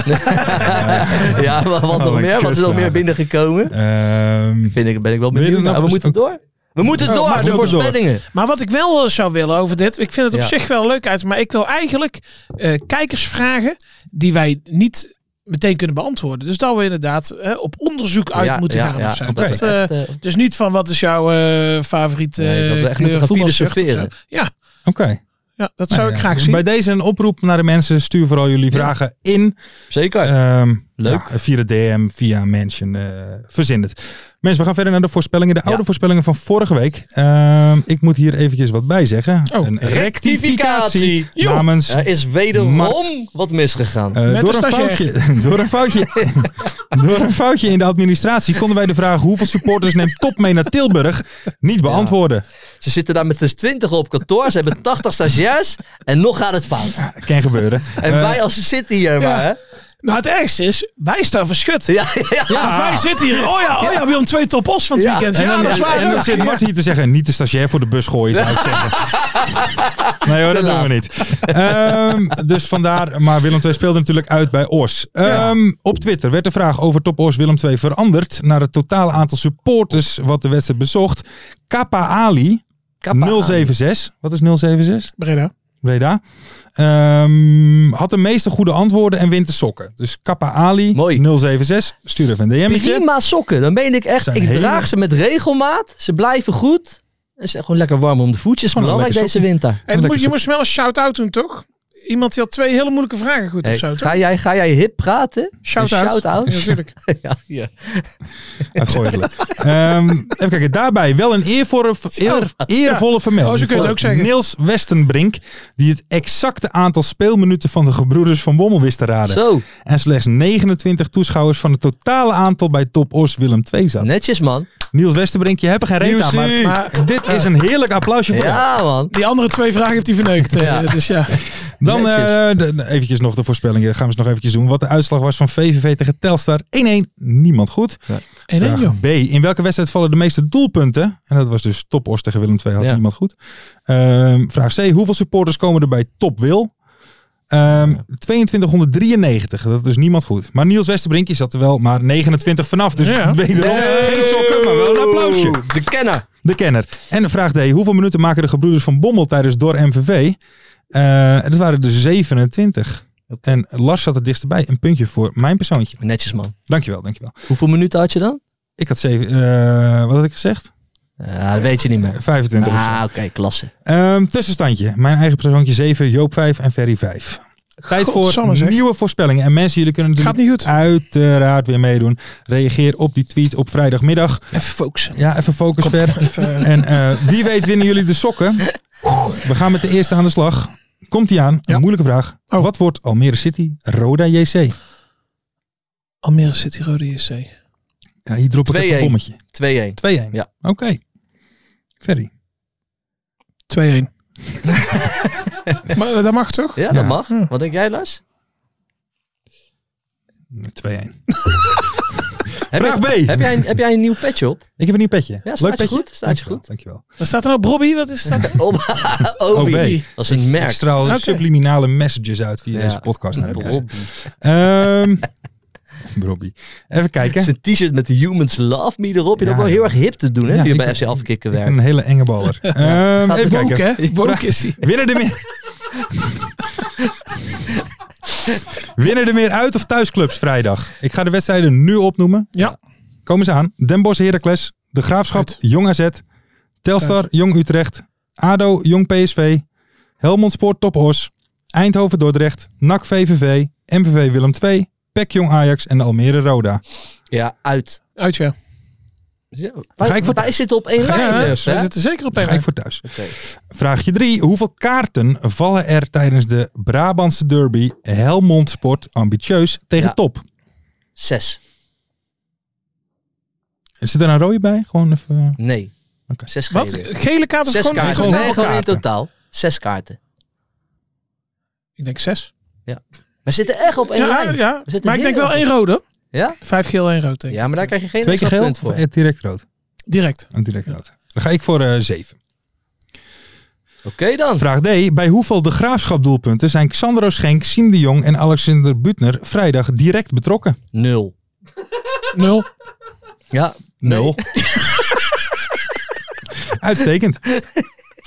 Speaker 4: ja, wat, wat
Speaker 3: Oh,
Speaker 4: nog
Speaker 3: mijn
Speaker 4: meer? Wat is nog
Speaker 3: kutvragen.
Speaker 4: meer binnengekomen?
Speaker 3: Ehm,
Speaker 4: Vind ik, ben ik wel
Speaker 3: Wil je
Speaker 4: benieuwd.
Speaker 3: er nog
Speaker 4: Maar we
Speaker 3: eens-
Speaker 4: moeten door. We moeten
Speaker 3: Ja,
Speaker 4: door,
Speaker 3: maar we
Speaker 4: de
Speaker 3: moeten door.
Speaker 4: voorspellingen.
Speaker 5: Maar wat ik wel eh, zou willen over dit, ik vind het op
Speaker 4: Ja.
Speaker 5: zich wel leuk uit, maar ik wil eigenlijk eh, kijkers vragen die wij niet meteen kunnen beantwoorden. Dus dat we inderdaad eh, op onderzoek uit
Speaker 4: Ja,
Speaker 5: moeten
Speaker 4: ja,
Speaker 5: gaan.
Speaker 4: ja.
Speaker 5: of zo.
Speaker 4: Want
Speaker 5: Dat,
Speaker 4: dat is
Speaker 5: eh,
Speaker 4: echt, eh,
Speaker 5: dus niet van wat is jouw eh favoriete
Speaker 4: Nee, dat we echt
Speaker 5: eh,
Speaker 4: moeten
Speaker 5: kleur
Speaker 4: gaan
Speaker 5: voetbalshirt of zo.
Speaker 4: filosoferen.
Speaker 5: Ja,
Speaker 3: Oké.
Speaker 5: ja, dat
Speaker 3: Nou
Speaker 5: zou
Speaker 3: ja,
Speaker 5: ik graag
Speaker 3: dus
Speaker 5: zien.
Speaker 3: Bij deze een oproep naar de mensen. Stuur vooral jullie vragen in.
Speaker 4: Zeker.
Speaker 3: Ehm,
Speaker 4: Leuk.
Speaker 3: ja, via de DM, via Mansion. eh verzin het. Mensen, we gaan verder naar de voorspellingen. De oude
Speaker 4: Ja.
Speaker 3: voorspellingen van vorige week. Ehm, ik moet hier eventjes wat bij zeggen.
Speaker 5: Oh,
Speaker 3: een
Speaker 4: rectificatie. Joh.
Speaker 3: namens...
Speaker 4: Er is wederom
Speaker 3: Mart.
Speaker 4: wat misgegaan.
Speaker 3: eh,
Speaker 5: Met
Speaker 3: door,
Speaker 5: de
Speaker 3: een
Speaker 5: stagiair.
Speaker 3: foutje, (laughs) door, een foutje, door een foutje in de administratie konden wij de vraag hoeveel supporters neemt top mee naar Tilburg niet beantwoorden.
Speaker 4: Ze zitten daar met z'n twintig op kantoor. Ze hebben 80 stagiairs. En nog gaat het fout.
Speaker 3: Kan gebeuren.
Speaker 4: En
Speaker 3: Eh,
Speaker 4: wij als City hier maar, hè?
Speaker 5: Nou, het ergste is, wij staan verschut. Ja,
Speaker 4: Ja, ja, ja.
Speaker 5: wij zitten hier. Oh ja, oh ja, Willem twee top os van het
Speaker 4: Ja.
Speaker 5: weekend.
Speaker 3: En
Speaker 5: Ja,
Speaker 3: dan,
Speaker 5: dat is waar.
Speaker 3: en dan zit Mart hier te zeggen, niet de stagiair voor de bus gooien, zou ik zeggen. Nee hoor, dat doen we niet. Ehm, dus vandaar, maar Willem II speelde natuurlijk uit bij Os. Ehm, Op Twitter werd de vraag over Top Os Willem II veranderd naar het totale aantal supporters wat de wedstrijd bezocht. Kappa Ali,
Speaker 4: Kappa.
Speaker 3: 076. Wat is 076?
Speaker 5: Breda.
Speaker 3: Breda. Ehm, had de meeste goede antwoorden en wint de sokken. Dus Kappa Ali,
Speaker 4: Mooi.
Speaker 3: 076. Stuur even een DM'tje.
Speaker 4: Prima sokken, dan meen ik echt.
Speaker 3: Zijn
Speaker 4: Ik
Speaker 3: hele-
Speaker 4: draag ze met regelmaat. Ze blijven goed. En ze zijn gewoon lekker warm om de voetjes.
Speaker 3: Gewoon een
Speaker 4: Belangrijk
Speaker 3: lekker
Speaker 4: deze winter.
Speaker 5: En
Speaker 3: Lekker
Speaker 5: moest, je moest wel een shout-out doen, toch? iemand die had twee hele moeilijke vragen goed
Speaker 4: Hey,
Speaker 5: of zo.
Speaker 4: ga, jij, ga jij hip praten?
Speaker 5: Shout-out.
Speaker 4: Shout-out.
Speaker 5: Ja, natuurlijk.
Speaker 4: (laughs) ja, ja.
Speaker 3: Uitgooielijk. Ehm, even kijken, daarbij wel een eervolle, eer, eervolle vermelding.
Speaker 5: Oh, zo kun je het
Speaker 3: voor
Speaker 5: ook zeggen.
Speaker 3: Niels Westenbrink, die het exacte aantal speelminuten van de gebroeders van Bommel wist te raden.
Speaker 4: Zo,
Speaker 3: En slechts 29 toeschouwers van het totale aantal bij Top Os Willem 2 zat.
Speaker 4: netjes man.
Speaker 3: Niels Westenbrink, je hebt er geen reet aan, maar,
Speaker 5: Nieuwsie.
Speaker 3: maar dit is een heerlijk applausje voor jou.
Speaker 4: Ja man.
Speaker 5: Die andere twee vragen heeft hij verneukt. eh,
Speaker 4: Ja.
Speaker 5: Dus ja.
Speaker 3: Dan
Speaker 4: Netjes.
Speaker 3: eh, de- de- eventjes nog de voorspellingen. Gaan we eens nog eventjes doen. Wat de uitslag was van VVV tegen Telstar. 1-1. Niemand goed.
Speaker 5: En
Speaker 3: Vraag
Speaker 5: één, joh.
Speaker 3: B. In welke wedstrijd vallen de meeste doelpunten? En dat was dus Top Os tegen Willem II. Had
Speaker 4: Ja.
Speaker 3: niemand goed. Ehm, vraag C. Hoeveel supporters komen er bij Top Wil? Ehm, 2293. Dat is niemand goed. Maar Niels Westerbrinkje zat er wel maar 29 vanaf. Dus (laughs)
Speaker 5: Ja.
Speaker 3: wederom geen sokken, maar wel een applausje.
Speaker 4: De kenner.
Speaker 3: De kenner. En vraag D. Hoeveel minuten maken de gebroeders van Bommel tijdens door MVV? Eh, dat waren er 27. En Lars zat er dichterbij. Een puntje voor mijn persoontje.
Speaker 4: Netjes man.
Speaker 3: Dankjewel, dankjewel.
Speaker 4: Hoeveel minuten had je dan?
Speaker 3: Ik had zeven... eh, wat had ik gezegd?
Speaker 4: Ja, dat weet je niet meer.
Speaker 3: 25 of zo.
Speaker 4: Ah, oké, klasse.
Speaker 3: Ehm, tussenstandje. Mijn eigen persoontje 7, Joop 5 en Ferry 5. Tijd
Speaker 5: Godsamme,
Speaker 3: voor
Speaker 5: zeg.
Speaker 3: nieuwe voorspellingen. En mensen, jullie kunnen
Speaker 5: Gaat
Speaker 3: natuurlijk
Speaker 5: niet goed.
Speaker 3: uiteraard weer meedoen. Reageer op die tweet op vrijdagmiddag.
Speaker 5: Even focussen.
Speaker 3: Ja, even focus ver. En eh, wie weet winnen jullie de sokken. We gaan met de eerste aan de slag. Komt die aan? Een
Speaker 5: Ja. Oh.
Speaker 3: moeilijke vraag. Wat wordt Almere City Roda JC?
Speaker 5: Almere City Rode JC.
Speaker 3: Ja, hier drop ik even
Speaker 4: 2-1.
Speaker 3: een bommetje.
Speaker 4: 2-1.
Speaker 3: 2-1.
Speaker 4: Ja.
Speaker 3: Oké. Ferry.
Speaker 5: 2-1.
Speaker 4: (laughs)
Speaker 5: maar eh, dat mag toch?
Speaker 4: Ja, dat
Speaker 3: Ja.
Speaker 4: mag. Wat denk jij Lars?
Speaker 3: 2-1.
Speaker 4: Heb
Speaker 3: Vraag
Speaker 4: jij,
Speaker 3: B.
Speaker 4: Heb jij, een, heb jij een nieuw
Speaker 3: (laughs)
Speaker 4: petje op?
Speaker 3: Ik heb een nieuw petje.
Speaker 4: Ja, staat
Speaker 3: Leuk
Speaker 4: je
Speaker 3: petje.
Speaker 4: goed, staat je
Speaker 3: Dankjewel,
Speaker 4: goed.
Speaker 3: Dankjewel.
Speaker 5: Wat staat er nou? Brobby? Wat is dat?
Speaker 4: Ob Obi.
Speaker 3: Obi.
Speaker 4: Oh, Dat is een
Speaker 3: Ik
Speaker 4: merk.
Speaker 3: straal
Speaker 5: Oké.
Speaker 3: subliminale messages uit via
Speaker 4: Ja.
Speaker 3: deze podcast naar de mensen.
Speaker 4: Obi.
Speaker 3: Ehm, (laughs) Robbie. Even kijken.
Speaker 4: Het is een t-shirt met de Humans Love Me erop. Je
Speaker 3: Ja.
Speaker 4: hebt ook wel heel erg hip te doen, hè?
Speaker 3: Ja,
Speaker 4: die
Speaker 3: ik
Speaker 4: bij
Speaker 3: ben-
Speaker 4: FC Afkikken
Speaker 3: Ik ben
Speaker 4: werkt.
Speaker 3: een hele enge baller. Ehm,
Speaker 4: Gaat
Speaker 3: even
Speaker 4: er
Speaker 5: Ook
Speaker 3: kijken.
Speaker 5: hè? Woke is hij.
Speaker 3: Winnen er meer. Winnen er meer uit of thuisclubs vrijdag? Ik ga de wedstrijden nu opnoemen.
Speaker 5: Ja.
Speaker 3: Komen ze aan. Den Bosch Heracles, De Graafschap,
Speaker 5: Uit.
Speaker 3: Jong AZ, Telstar, Jong Utrecht, ADO, Jong PSV, Helmond Sport, Top Os, Eindhoven Dordrecht, NAC VVV, MVV Willem II, PEC Jong Ajax en Almere Roda.
Speaker 4: Ja, uit.
Speaker 5: Uit ja.
Speaker 3: Ga ik
Speaker 4: Wij,
Speaker 3: voor-
Speaker 4: wij zitten op één
Speaker 3: Ga ik-
Speaker 4: lijn.
Speaker 5: Ja,
Speaker 3: nee,
Speaker 5: we
Speaker 3: dus, hè?
Speaker 5: zitten zeker op
Speaker 3: Daar ga ik
Speaker 5: één.
Speaker 3: voor thuis.
Speaker 4: Oké.
Speaker 3: Vraagje 3. Hoeveel kaarten vallen er tijdens de Brabantse derby Helmond Sport ambitieus tegen
Speaker 4: Ja.
Speaker 3: top?
Speaker 4: Zes.
Speaker 3: Zit er een rode bij? Gewoon even... eh,
Speaker 4: Nee.
Speaker 3: Oké.
Speaker 4: Zes
Speaker 5: Wat?
Speaker 4: gele.
Speaker 5: Gele kaart of
Speaker 4: Zes
Speaker 5: gewoon?
Speaker 4: kaarten.
Speaker 3: gewoon
Speaker 4: nee,
Speaker 3: heel
Speaker 4: gewoon in
Speaker 3: kaarten.
Speaker 4: totaal. Zes kaarten.
Speaker 5: Ik denk zes.
Speaker 4: We zitten echt op
Speaker 5: Ja,
Speaker 4: één lijn.
Speaker 5: ja.
Speaker 4: We zitten
Speaker 5: Maar ik denk
Speaker 4: heel
Speaker 5: wel
Speaker 4: erg
Speaker 5: één rode.
Speaker 4: op- Ja?
Speaker 5: Vijf geel, één rood denk ik.
Speaker 4: Ja, maar daar krijg je geen
Speaker 3: Twee keer
Speaker 4: extra
Speaker 3: geel
Speaker 4: punt
Speaker 3: of
Speaker 4: voor.
Speaker 3: eh, direct rood?
Speaker 5: Direct.
Speaker 3: Een direct rood. Dan ga ik voor 7.
Speaker 4: Oké dan.
Speaker 3: Vraag D. Bij hoeveel de graafschap doelpunten zijn Xandro Schenk, Siem de Jong en Alexander Butner vrijdag direct betrokken?
Speaker 4: Nul. (laughs)
Speaker 5: Nul.
Speaker 4: Ja. nee. (laughs)
Speaker 3: Nul. Uitstekend.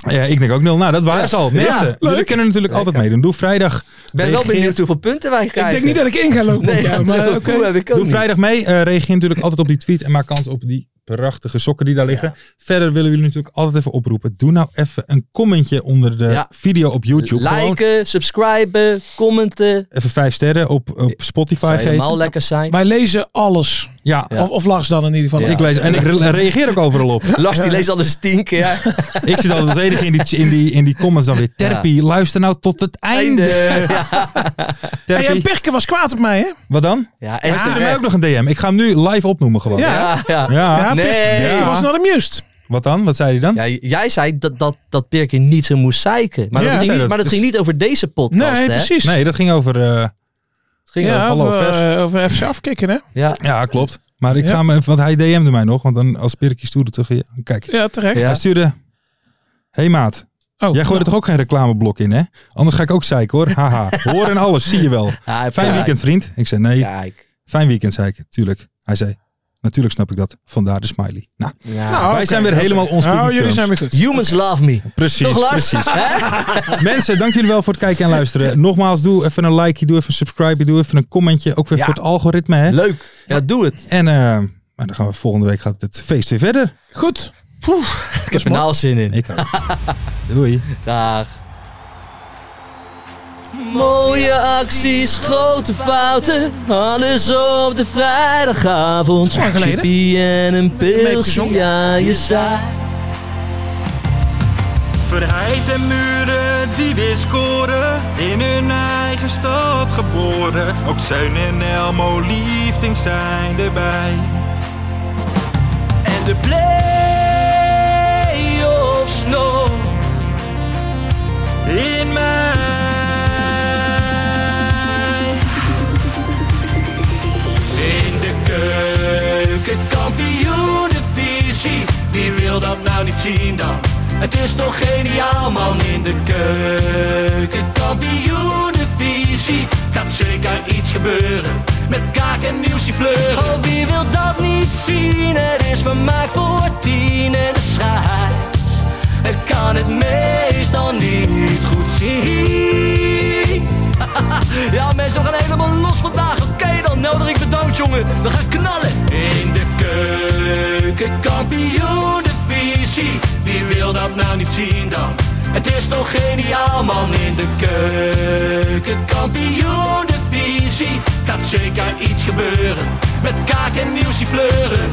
Speaker 3: Ja, ik denk ook nul. Nou, dat waren ze al. Mensen, jullie kunnen natuurlijk altijd meedoen. Doe vrijdag.
Speaker 4: Ik ben wel benieuwd hoeveel punten wij krijgen.
Speaker 5: Ik denk niet dat ik in ga lopen
Speaker 4: Nee,
Speaker 5: op jou,
Speaker 4: (laughs)
Speaker 5: maar
Speaker 4: maar
Speaker 5: oké.
Speaker 4: heb ik ook
Speaker 3: Doe
Speaker 4: niet.
Speaker 3: vrijdag mee. Eh, reageer natuurlijk altijd op die tweet en maak kans op die prachtige sokken die daar liggen. Verder willen we jullie natuurlijk altijd even oproepen. Doe nou even een commentje onder de
Speaker 4: Ja.
Speaker 3: video op YouTube. Gewoon
Speaker 4: Liken, subscriben, commenten.
Speaker 3: even vijf sterren op, op Spotify
Speaker 4: Zou
Speaker 3: geven.
Speaker 4: helemaal lekker zijn.
Speaker 5: Wij lezen alles.
Speaker 3: Ja,
Speaker 5: Of, of Lars dan in ieder geval.
Speaker 4: Ja.
Speaker 3: ik lees en ik re- reageer ook overal op.
Speaker 4: Lars die leest alles
Speaker 5: (laughs)
Speaker 4: tien keer.
Speaker 3: Ik zit altijd als enige in die, in die, in die comments dan weer. Terpie, luister nou tot het einde.
Speaker 4: Ja.
Speaker 5: Hey, en
Speaker 3: Terpie,
Speaker 5: Pirke was kwaad op mij, hè?
Speaker 3: wat dan?
Speaker 4: Ja, en
Speaker 3: Hij stuurde mij
Speaker 4: terecht.
Speaker 3: ook nog een DM. Ik ga hem nu live opnoemen gewoon.
Speaker 5: Ja.
Speaker 4: Ja, ja.
Speaker 3: Ja.
Speaker 5: Ja,
Speaker 4: nee.
Speaker 5: Pirke, Pirke
Speaker 3: Ja.
Speaker 5: was not amused.
Speaker 3: Wat dan? Wat zei hij dan?
Speaker 4: Ja, jij zei dat, dat, dat Pirke niet zo moest zeiken. Maar,
Speaker 5: Ja,
Speaker 4: dat, ging,
Speaker 3: zei
Speaker 4: niet-
Speaker 3: dat.
Speaker 4: maar dat
Speaker 3: Dus-
Speaker 4: ging niet over deze podcast,
Speaker 5: nee,
Speaker 4: hè?
Speaker 5: precies.
Speaker 3: Nee, dat ging over... eh,
Speaker 4: Het ging
Speaker 5: ja,
Speaker 4: over-
Speaker 3: hallo,
Speaker 5: over,
Speaker 3: vers.
Speaker 5: eh, over FC afkicken, hè?
Speaker 4: ja.
Speaker 3: Ja, klopt. Maar ik
Speaker 5: Ja.
Speaker 3: ga me even, want hij DM'de mij nog, want dan als Pirkie stoerde terug. ja, Kijk,
Speaker 5: Ja, terecht.
Speaker 4: Ja.
Speaker 3: hij stuurde. hey maat,
Speaker 5: Oh,
Speaker 3: jij gooide
Speaker 5: nou,
Speaker 3: toch ook geen reclameblok in, hè? Anders ga ik ook zeiken hoor. Haha,
Speaker 4: (laughs)
Speaker 3: hoor en alles, zie je wel.
Speaker 4: Ja, hij-
Speaker 3: Fijn
Speaker 4: ja,
Speaker 3: weekend, vriend. Ik zei nee,
Speaker 4: Kijk.
Speaker 3: fijn weekend, zei ik. Tuurlijk. Hij zei, natuurlijk snap ik dat. Vandaar de smiley. Nou,
Speaker 4: Ja.
Speaker 5: nou,
Speaker 3: wij
Speaker 5: oké,
Speaker 3: zijn weer
Speaker 5: dat is-
Speaker 3: helemaal ons
Speaker 5: Nou,
Speaker 3: speaking
Speaker 5: jullie
Speaker 3: terms.
Speaker 5: zijn weer goed.
Speaker 4: Humans love me.
Speaker 3: Precies,
Speaker 4: Toch Lars? (laughs)
Speaker 3: precies.
Speaker 4: Hè?
Speaker 3: Mensen, dank jullie wel voor het kijken en luisteren. Nogmaals, doe even een like, doe even een subscribe, doe even een commentje. Ook weer
Speaker 4: Ja.
Speaker 3: voor het algoritme, hè?
Speaker 4: Leuk. Ja, doe het.
Speaker 3: En eh, maar dan gaan we volgende week gaat het feest weer verder.
Speaker 5: Goed.
Speaker 4: Ik (laughs) heb er nou al zin in.
Speaker 3: Ik ook. Doei.
Speaker 4: Dag. Mooie acties, grote fouten, alles op de vrijdagavond.
Speaker 5: lang geleden.
Speaker 4: Chippy en een pilsje,
Speaker 5: gezongen.
Speaker 4: ja je zei.
Speaker 2: Verheid en muren die weer scoren, in hun eigen stad geboren. Ook Zijn en Elmo liefding zijn erbij.
Speaker 1: En de play-offs nog in mij. In de keuken, kampioenenvisie. Wie wil dat nou niet zien dan? Het is toch geniaal man in de keuken, kampioenenvisie. Gaat zeker iets gebeuren met kaak en nieuwsie fleuren. Oh, wie wil dat niet zien? Het is vermaakt voor tien en de scheids. Ik kan het meestal niet goed zien. Ja, mensen, we gaan helemaal los vandaag. Oké, dan nodig ik bedankt, jongen. We gaan knallen. In de keuken, kampioen, de visie. Wie wil dat nou niet zien dan? Het is toch geniaal, man. In de keuken, kampioen, de visie. Gaat zeker iets gebeuren. Met kaak en nieuwsie fleuren.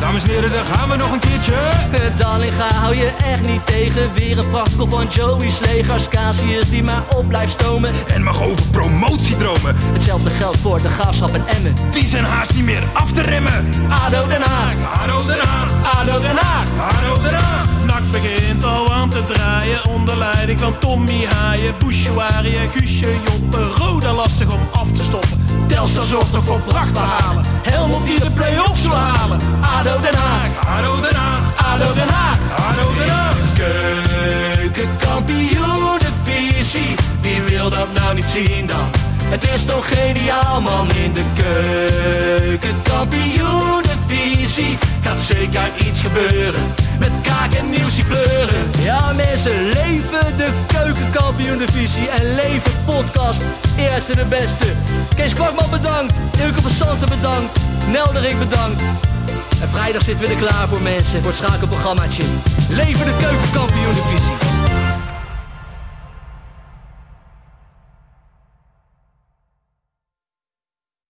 Speaker 2: Dames en heren, daar gaan we nog een keertje.
Speaker 1: Eh, Dallinga hou je echt niet tegen. Weer een prachtkel van Joey's legers. Casius die maar op blijft stomen.
Speaker 2: En mag over promotiedromen,
Speaker 1: Hetzelfde geldt voor de gaafschap en Emmen. Nou,
Speaker 2: die zijn haast niet meer af te remmen.
Speaker 1: ADO Den Haag,
Speaker 2: Haro Den Haag,
Speaker 1: ADO Den Haag.
Speaker 2: Haro Den Haag.
Speaker 9: Nak begint al aan te draaien onder leiding van Tommy Haaien, Bouchouari en Guusje Joppen. Roda lastig om af te stoppen. Telstar zorgt nog voor pracht te halen. Helmond die de play-offs wil halen.
Speaker 1: ADO Den Haag,
Speaker 2: Haro Den Haag,
Speaker 1: ADO Den Haag.
Speaker 2: Haro Den Haag.
Speaker 1: Keukenkampioenenvisie, wie wil dat nou niet zien dan? Het is toch geniaal man in de keukenkampioenenvisie. Gaat zeker iets gebeuren, met kaak en nieuwsie pleuren. Ja mensen, leven de keukenkampioenenvisie en leven podcast. Eerste de beste. Kees Kwakman bedankt, Ilke van Santen bedankt, Nelderik bedankt. En vrijdag zitten we er klaar voor mensen, voor het schakelprogrammaatje. Leven de keukenkampioen divisie.